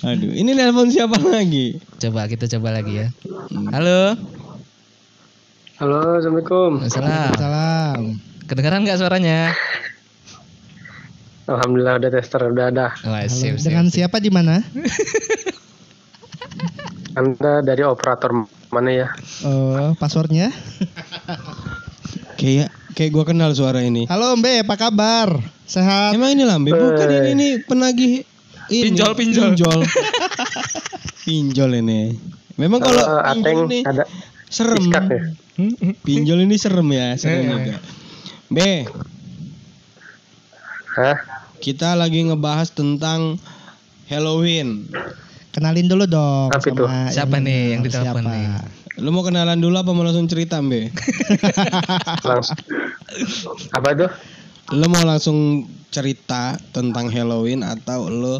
A: Aduh, ini nelpon siapa lagi?
B: Coba kita coba lagi ya. Halo.
E: Halo, Assalamualaikum.
B: Salam.
C: Salam.
B: Kedengaran nggak suaranya?
E: Alhamdulillah udah tester, udah ada.
B: Wah,
C: Halo,
B: sip, sip.
C: dengan siapa di mana?
E: Anda dari operator mana ya?
C: Oh, passwordnya?
A: Kayak kayak gua kenal suara ini.
C: Halo Mbe, apa kabar? Sehat?
A: Emang ini lambe bukan ini, ini penagih ini.
B: Pinjol, pinjol.
A: Pinjol. Pinjol ini. Memang Oh, kalau
E: Eh, Ateng
A: pinjol ini
E: ada
A: serem.
E: ikat ya?
A: Pinjol ini serem ya,
B: Eh.
A: serem juga. B,
E: Hah?
A: kita lagi ngebahas tentang Halloween.
C: Kenalin dulu dong.
E: Apa itu?
C: sama
B: Siapa
C: ini,
B: nih yang
C: sama
B: ditelepon
C: siapa?
B: nih?
A: Lu mau kenalan dulu apa mau langsung cerita, Mbe?
E: Langsung. Apa itu?
A: Lu mau langsung cerita tentang Halloween atau lu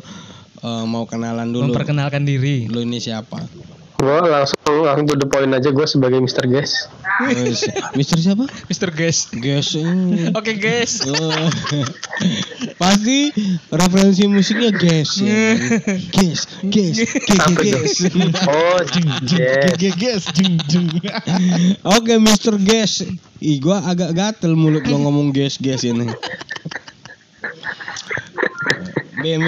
A: eh, mau kenalan dulu?
B: Memperkenalkan diri.
A: Lu ini siapa?
E: Gua langsung langsung to the point aja gue sebagai Mr. Guys.
A: Terus, Mister siapa?
B: Mr. Guys.
A: Guys. ini.
B: Oke, guys.
A: Oh. Pasti referensi musiknya guys ya. Guys, guys, guys,
E: Apa itu?
A: guys.
E: Oh, yes.
C: Geges jeng jeng.
A: Oke, Mr. Guess. Ih, gua agak gatel mulut gua ngomong guess guess ini. BM,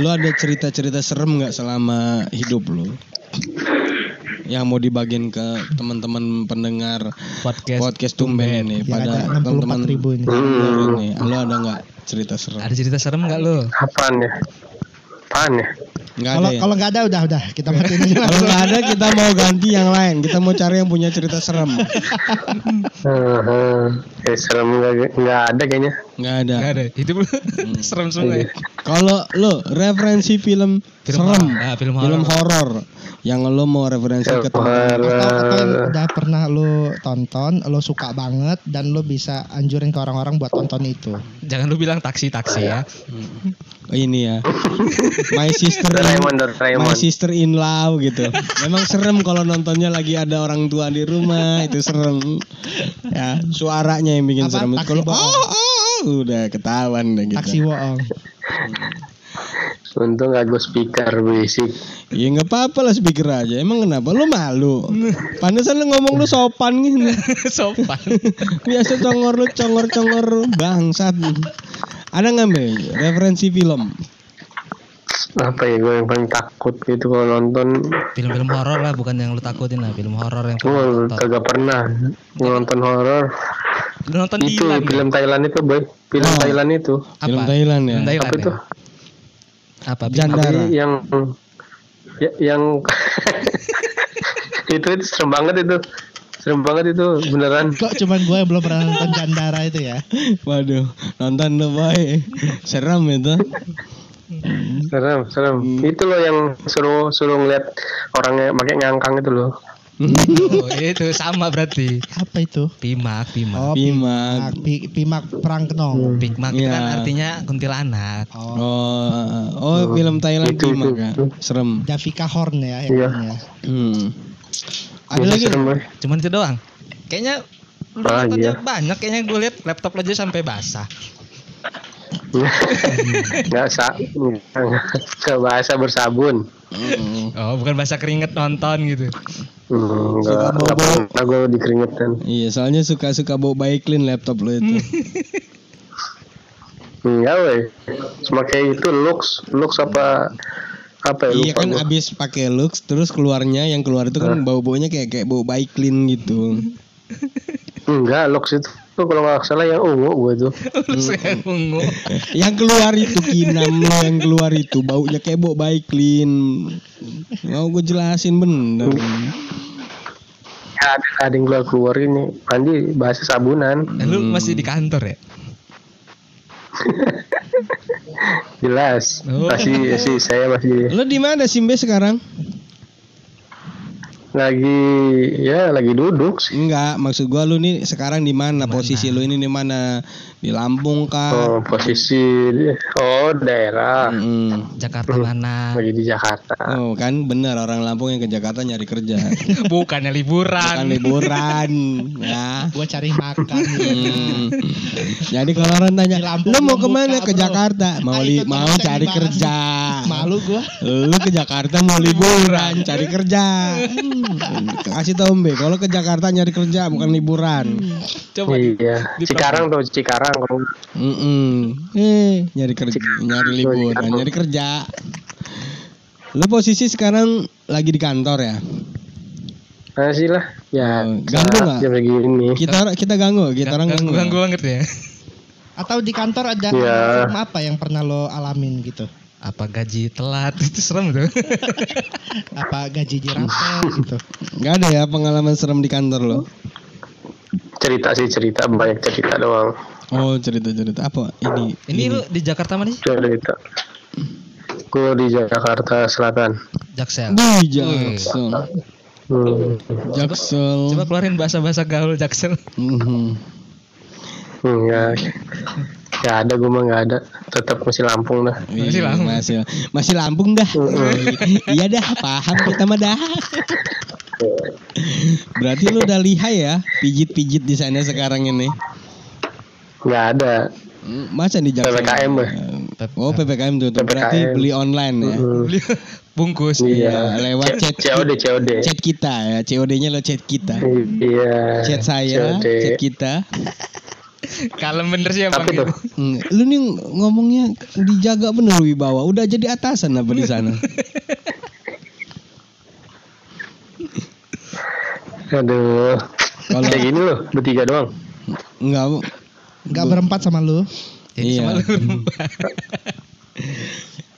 A: lu ada cerita-cerita serem nggak selama hidup lu? Yang mau dibagiin ke teman-teman pendengar
B: Podcast.
A: podcast Tumben nih
C: Yang
A: pada
C: ada 64
A: teman-teman
C: ribu ini.
A: nih. Lu ada nggak cerita serem?
B: Ada cerita serem nggak lo?
E: Apaan ya? Apaan ya?
A: Nggak ada
C: Kalau
A: ya?
C: kalau nggak ada udah udah kita matiin aja
A: Kalau nggak ada kita mau ganti yang lain. Kita mau cari yang punya cerita serem.
E: Heeh. Eh, serem nggak nggak ada kayaknya.
A: Nggak ada.
B: Nggak ada. Hidup lo serem semua ya.
A: Kalau lo referensi film,
B: Film
A: serem,
B: horor. Ah, film
A: film horor yang lo mau referensi ke teman,
C: Atau, atau yang
E: Horor.
C: udah pernah lu tonton, lu suka banget dan lu bisa anjurin ke orang-orang buat tonton itu.
B: Jangan lu bilang taksi taksi ya.
A: ini ya. My sister, in,
E: Doraemon,
A: my
E: Doraemon.
A: sister in law gitu. Memang serem kalau nontonnya lagi ada orang tua di rumah itu serem. Ya, suaranya yang bikin
C: Apa?
A: serem.
C: Taksi
A: Kalau
C: bohong.
A: oh, oh, udah ketahuan deh gitu.
E: Iya.
C: Taksi Woong.
E: Untung gak gue speaker berisik.
A: Ya nggak apa-apa lah speaker aja. Emang kenapa? Lo malu. Pantesan lo ngomong lo sopan gitu.
B: Sopan.
A: Biasa congor lu congor congor bangsat. Ada nggak Mbak, referensi film?
E: Apa ya gue yang paling takut gitu kalau nonton.
B: Film-film horor lah, bukan yang lu takutin lah. Film horor yang
E: Gue
B: pernah lu tonton.
E: kagak pernah nonton horor.
B: Lu nonton di ya?
E: Itu film Thailand itu, boy. Film
A: Kan ya? Oh.
E: Thailand itu.
B: Apa?
A: Film Thailand ya.
B: Film Thailand.
E: Apa
B: ya?
E: itu?
B: Apa?
A: Jandara.
E: Tapi yang ya, yang itu, itu serem banget itu. Serem banget itu beneran.
C: Kok cuman gue yang belum pernah nonton Jandara itu ya?
A: Waduh, nonton lo boy. Seram itu.
E: Serem, serem.
A: Hmm.
E: Itu loh yang suruh suruh ngeliat orangnya pakai ngangkang itu loh.
B: Oh, itu sama berarti.
C: Apa itu?
B: Pimak, pimak.
C: Oh,
A: Pimak.
C: Pi- Pimak Perang Kenong.
B: Pimak itu kan
A: Iya.
B: artinya kuntilanak.
C: Oh,
A: Oh, oh film Thailand
E: Itu,
A: Pimak
E: itu,
A: ya.
E: itu.
A: Serem.
C: Davika Horn ya yang
E: Iya.
C: punya.
A: Hmm. Ada
E: Itu
A: lagi.
E: serem, Boy.
B: Cuman itu doang. Kayaknya lu
E: Ah,
B: nontonnya
E: iya.
B: banyak kayaknya gue liat laptop aja sampai basah.
E: nggak sa nggak bahasa bersabun
A: Hmm.
B: Oh, bukan basah keringet nonton gitu.
E: Hmm,
A: Suka
E: nggak nggak
A: bobo.
E: pernah gue dikeringetan
A: Iya, soalnya suka-suka bawa bayi clean laptop lo itu.
E: Hmm. enggak weh Iya, cuma kayak itu looks looks apa apa ya
A: iya
E: lupa
A: kan
E: gua. Nah.
A: abis pakai lux terus keluarnya yang keluar itu kan bau-baunya kayak kayak bau bayi clean gitu.
E: enggak looks itu tuh kalau nggak salah yang ungu gue tuh
B: Lu saya ungu.
A: yang keluar itu kinam lo yang keluar itu baunya kayak bau baik clean mau gue jelasin bener
E: ya ada ada yang keluar keluar ini mandi bahasa sabunan
B: Eh, lu masih di kantor ya?
E: jelas
B: Oh.
E: masih si saya masih
A: lo di mana Simbe sekarang
E: lagi ya lagi duduk sih
A: Enggak, maksud gua lu nih sekarang di mana? Posisi lu ini di mana? Di Lampung kah?
E: oh posisi oh daerah
A: Mm.
B: Jakarta mana?
E: lagi di Jakarta
A: Oh, kan bener orang Lampung yang ke Jakarta nyari kerja.
B: Bukannya
A: Kan
B: liburan.
A: liburan, ya.
C: Gua cari makan.
A: Hmm. Jadi kalau orang tanya,
C: Di Lampung
A: lu mau
C: belum
A: kemana?
C: buka,
A: Ke
C: bro."
A: Jakarta. Mau
C: Ah,
A: li-
C: itu terus
A: mau
C: yang
A: cari
C: dibahas.
A: kerja.
C: Malu gua.
A: Lu ke Jakarta mau liburan, cari kerja. Hmm. Kasih tau Mbe, kalau ke Jakarta nyari kerja bukan liburan.
B: Coba
E: iya Cikarang tuh Cikarang kalau
A: Mm-mm. Eh, nyari kerja, nyari liburan, nyari kerja. Lu posisi sekarang lagi di kantor ya?
E: masih lah ya
A: Oh, ganggu nggak?
E: jam segini
A: Kita kita ganggu, kita orang
B: ganggu
A: ganggu.
B: ganggu banget ya.
C: Atau di kantor ada
E: Iya.
C: film apa yang pernah lo alamin gitu?
B: Apa gaji telat itu serem tuh.
C: Apa gaji dirampok gitu?
A: Gak ada ya pengalaman serem di kantor lo?
E: cerita sih cerita banyak cerita doang
A: Oh cerita cerita apa ini?
B: Ini lu di Jakarta mana sih?
E: cerita gue di Jakarta Selatan
B: Jaksel.
A: Wih, Jaksel,
E: hmm.
A: Jaksel.
B: Coba keluarin bahasa-bahasa gaul Jaksel.
A: Mhm.
E: enggak hmm, ya. nggak ada gue mah nggak ada tetap masih Lampung dah
A: Wih,
B: Masih Lampung.
A: Hmm, Masih, masih Lampung dah.
E: Hmm.
A: iya dah, paham kita mah dah. Berarti lu udah lihai ya, pijit-pijit di sana sekarang ini.
E: nggak ada
A: Hmm, Masa di Jaksel?
E: PPKM ya
A: Oh PPKM tuh, tuh. berarti
E: PPKM.
A: beli online ya.
E: Hmm.
B: Beli bungkus.
A: Ya,
E: iya
A: lewat chat
E: COD COD
A: chat kita ya, COD-nya lo chat kita.
E: iya
A: Chat saya,
E: COD.
A: chat kita.
B: Kalem bener sih abang
E: Tapi
B: gitu.
E: Iya, tuh
A: Hmm, Lu nih ngomongnya dijaga bener wibawa. Udah jadi atasan apa di sana?
E: Aduh.
A: Kalau-
E: Kayak gini loh, bertiga doang.
A: Enggak. Bu.
C: Gak berempat sama lu?
B: Jadi
A: Iya.
B: sama lu.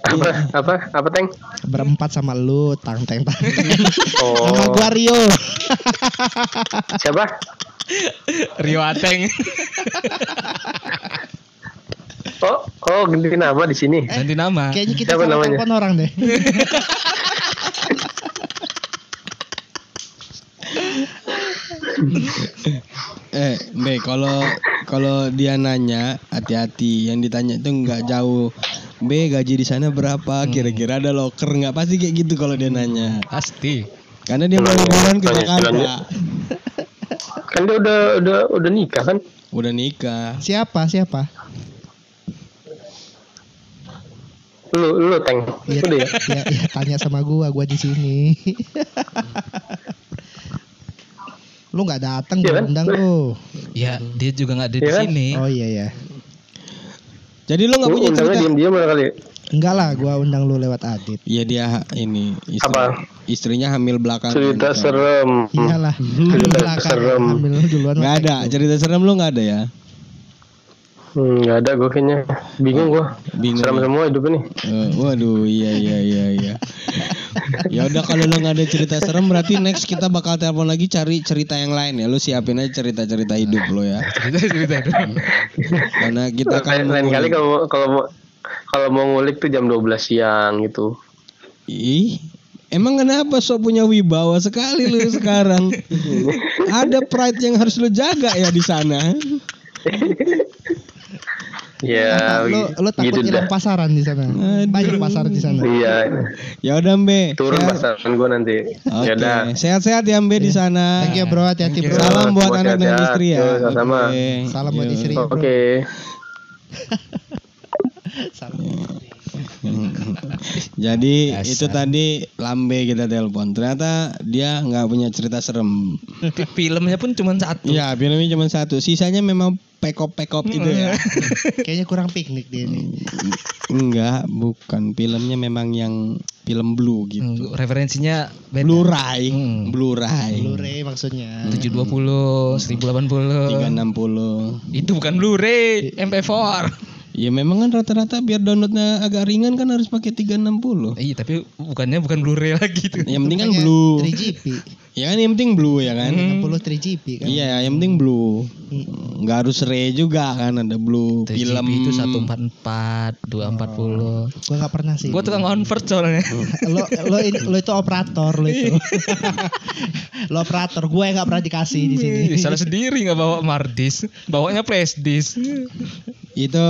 E: Apa apa apa Teng?
C: Berempat sama lu, tang teng tang.
E: Oh.
C: Sama gua Rio.
E: Siapa?
B: Rio Ateng.
E: Oh, oh ganti nama di sini.
A: Eh.
B: Ganti nama.
C: Kayaknya kita
E: Siapa
C: salah
E: namanya?
C: telepon orang deh.
A: Eh, Be, kalau kalau dia nanya, hati-hati. Yang ditanya itu enggak jauh. B gaji di sana
E: Hmm.
A: berapa? Kira-kira ada loker nggak? Pasti kayak gitu kalau dia nanya.
B: Pasti.
A: Karena dia mau liburan ke
E: Tanya- tanya.
A: Jakarta.
E: Kan dia udah udah udah nikah kan?
A: Udah nikah.
C: Siapa? Siapa?
E: Lu lu Teng.
A: Iya.
E: Udah ya.
C: Ya, ya tanya sama gua, gua di sini. lu nggak datang
E: Iya
C: gua
E: kan?
C: undang lu.
B: Ya, dia juga nggak ada di
E: Iya kan?
B: sini.
C: Oh iya ya.
A: Jadi lu nggak
E: Lu
A: punya
E: undangnya
A: cerita?
E: diam-diam mana kali? ya?
C: Enggak lah, gua undang lu lewat Adit.
A: Iya dia ini istri-
E: Apa?
A: istrinya hamil belakangan.
E: Cerita serem.
A: Iya
C: Iyalah. Belakang
E: Cerita Hmm. Iya, serem.
C: Iya ambil lu duluan.
A: Nggak ada cerita serem lu nggak ada ya?
E: Hmm, gak ada gue kayaknya. Bingung gua.
A: Bingung.
E: Serem semua hidup ini.
A: Eh, waduh, iya iya iya iya. ya udah kalau lu nggak ada cerita serem berarti next kita bakal telepon lagi cari cerita yang lain ya. Lu siapin aja cerita-cerita hidup lo ya.
B: Cerita cerita doang.
A: Karena kita kan akan
E: Lain, lain kali kalau kalau mau kalau mau ngulik tuh jam 12 siang gitu.
A: Ih, emang kenapa sok punya wibawa sekali lu sekarang? ada pride yang harus lu jaga ya di sana.
E: Ya,
C: Lu, lu takut
E: gitu
C: hilang
E: dah.
C: pasaran di sana. Banyak pasar di sana.
E: Iya,
A: Ya udah Mbe.
E: turun
A: sehat-
E: pasaran gua nanti.
A: Oke,
E: Ya udah.
A: sehat-sehat ya Mbe di sana.
C: Iya. Thank you bro, hati-hati bro.
A: Salam buat
E: Buat
A: anak dan
E: Caca.
A: istri
E: Yo,
A: ya.
E: sama-sama.
A: Oke.
C: Salam buat
A: Yo.
C: istri.
E: Oke.
C: bro.
A: Jadi itu tadi Lambe kita telepon. Ternyata dia nggak punya cerita serem.
B: Filmnya pun cuma satu.
A: Iya, filmnya cuma satu. Sisanya memang pekop-pekop itu ya.
C: Kayaknya kurang piknik dia ini.
A: Enggak, bukan. Filmnya memang yang film blue gitu.
B: Hmm, Referensinya
A: Mm.
B: beda.
A: Blu-ray,
B: Hmm.
A: Blu-ray.
C: Blu-ray maksudnya.
B: 720, 1080.
A: 360.
B: Itu bukan Blu-ray, MP4.
A: Ya memang kan rata-rata biar downloadnya agak ringan kan harus pakai 360.
B: Iya, tapi bukannya bukan Blu-ray lagi itu.
A: Yang penting kan
C: Makanya
A: blue.
C: 3GP.
A: Ya kan yang penting blue ya kan.
C: 60 3GP kan.
A: Iya, yang penting blue. Nggak harus re juga kan ada blue film
B: itu 144, 240.
C: Gua nggak pernah sih.
B: Gua tukang convert soalnya.
C: lo lo in- lo itu operator lo itu. lo operator gue yang nggak pernah dikasih di sini.
B: Ih, Salah sendiri nggak bawa Mardis, bawanya Presdis.
A: itu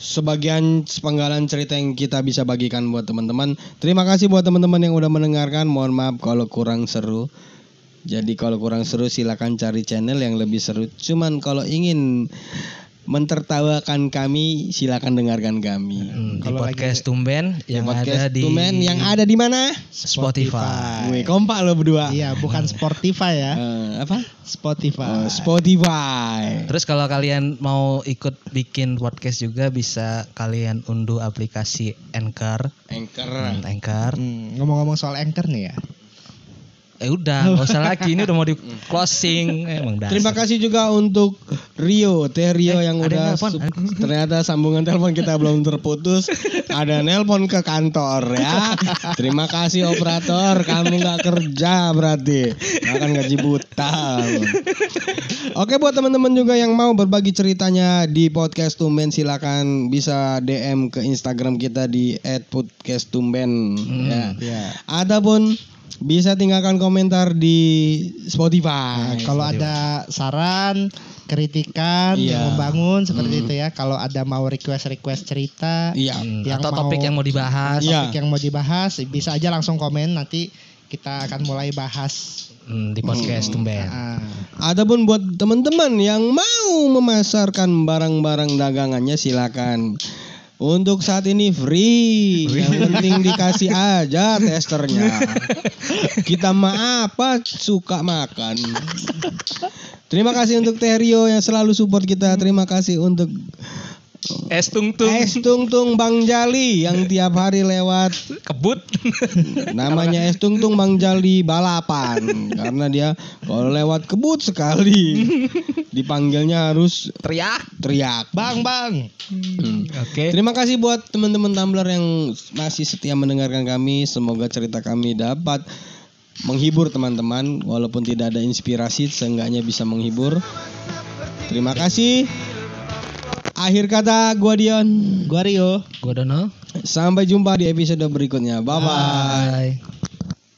A: sebagian sepenggalan cerita yang kita bisa bagikan buat teman-teman. Terima kasih buat teman-teman yang udah mendengarkan. Mohon maaf kalau kurang seru. Jadi kalau kurang seru silakan cari channel yang lebih seru. Cuman kalau ingin mentertawakan kami silakan dengarkan kami.
B: Hmm, di
C: Kalau
B: podcast Tumben yang ada di
A: Tumen yang ada di mana?
B: Spotify.
A: Wih, kompak lo berdua.
C: Iya, bukan Spotify ya.
A: Eh, apa?
C: Spotify.
A: Eh, Spotify.
B: Terus kalau kalian mau ikut bikin podcast juga bisa kalian unduh aplikasi Anchor.
A: Anchor.
B: Hmm, Anchor.
C: Hmm, ngomong-ngomong soal anchor nih ya.
B: Eh udah, nggak usah lagi. Ini udah mau di closing. Emang dasar.
A: Terima kasih juga untuk Rio, Teh Rio yang udah
B: ada yang nelpon.
A: sup- ternyata sambungan telepon kita belum terputus. Ada nelpon ke kantor ya. Terima kasih operator, kamu nggak kerja berarti. Akan gaji buta. Oke buat teman-teman juga yang mau berbagi ceritanya di podcast Tumben silakan bisa DM ke Instagram kita di @podcasttumben ya.
C: Iya.
A: Adapun bisa tinggalkan komentar di Spotify.
C: Nah, kalau ada saran, kritikan,
A: Iya.
C: yang membangun seperti itu ya. Kalau ada mau request-request cerita,
A: Iya.
B: Hmm,
C: Yang
B: atau topik
C: mau-
B: yang mau dibahas.
A: Iya.
C: topik yang mau dibahas bisa aja langsung komen nanti kita akan mulai bahas.
B: Hmm, di podcast
A: Iya.
B: Tumben.
C: Ah,
A: Adapun buat teman-teman yang mau memasarkan barang-barang dagangannya silakan. Untuk saat ini free, yang penting dikasih aja testernya. Kita mah apa suka makan. Terima kasih untuk Terio yang selalu support kita. Terima kasih untuk
B: Es tungtung,
A: Es Tung Tung Bang Jali yang tiap hari lewat
B: kebut.
A: Namanya es tungtung Bang Jali balapan karena dia kalau lewat kebut sekali dipanggilnya harus
B: Teriak.
A: teriak.
C: bang, bang.
A: Hmm.
B: Oke.
A: Terima kasih buat teman-teman Tumblr yang masih setia mendengarkan kami. Semoga cerita kami dapat menghibur teman-teman walaupun tidak ada inspirasi seenggaknya bisa menghibur. Terima kasih. Akhir kata gua Dion.
C: Gua Rio.
B: Gua Dono.
A: Sampai jumpa di episode berikutnya. Bye bye.
B: Bye.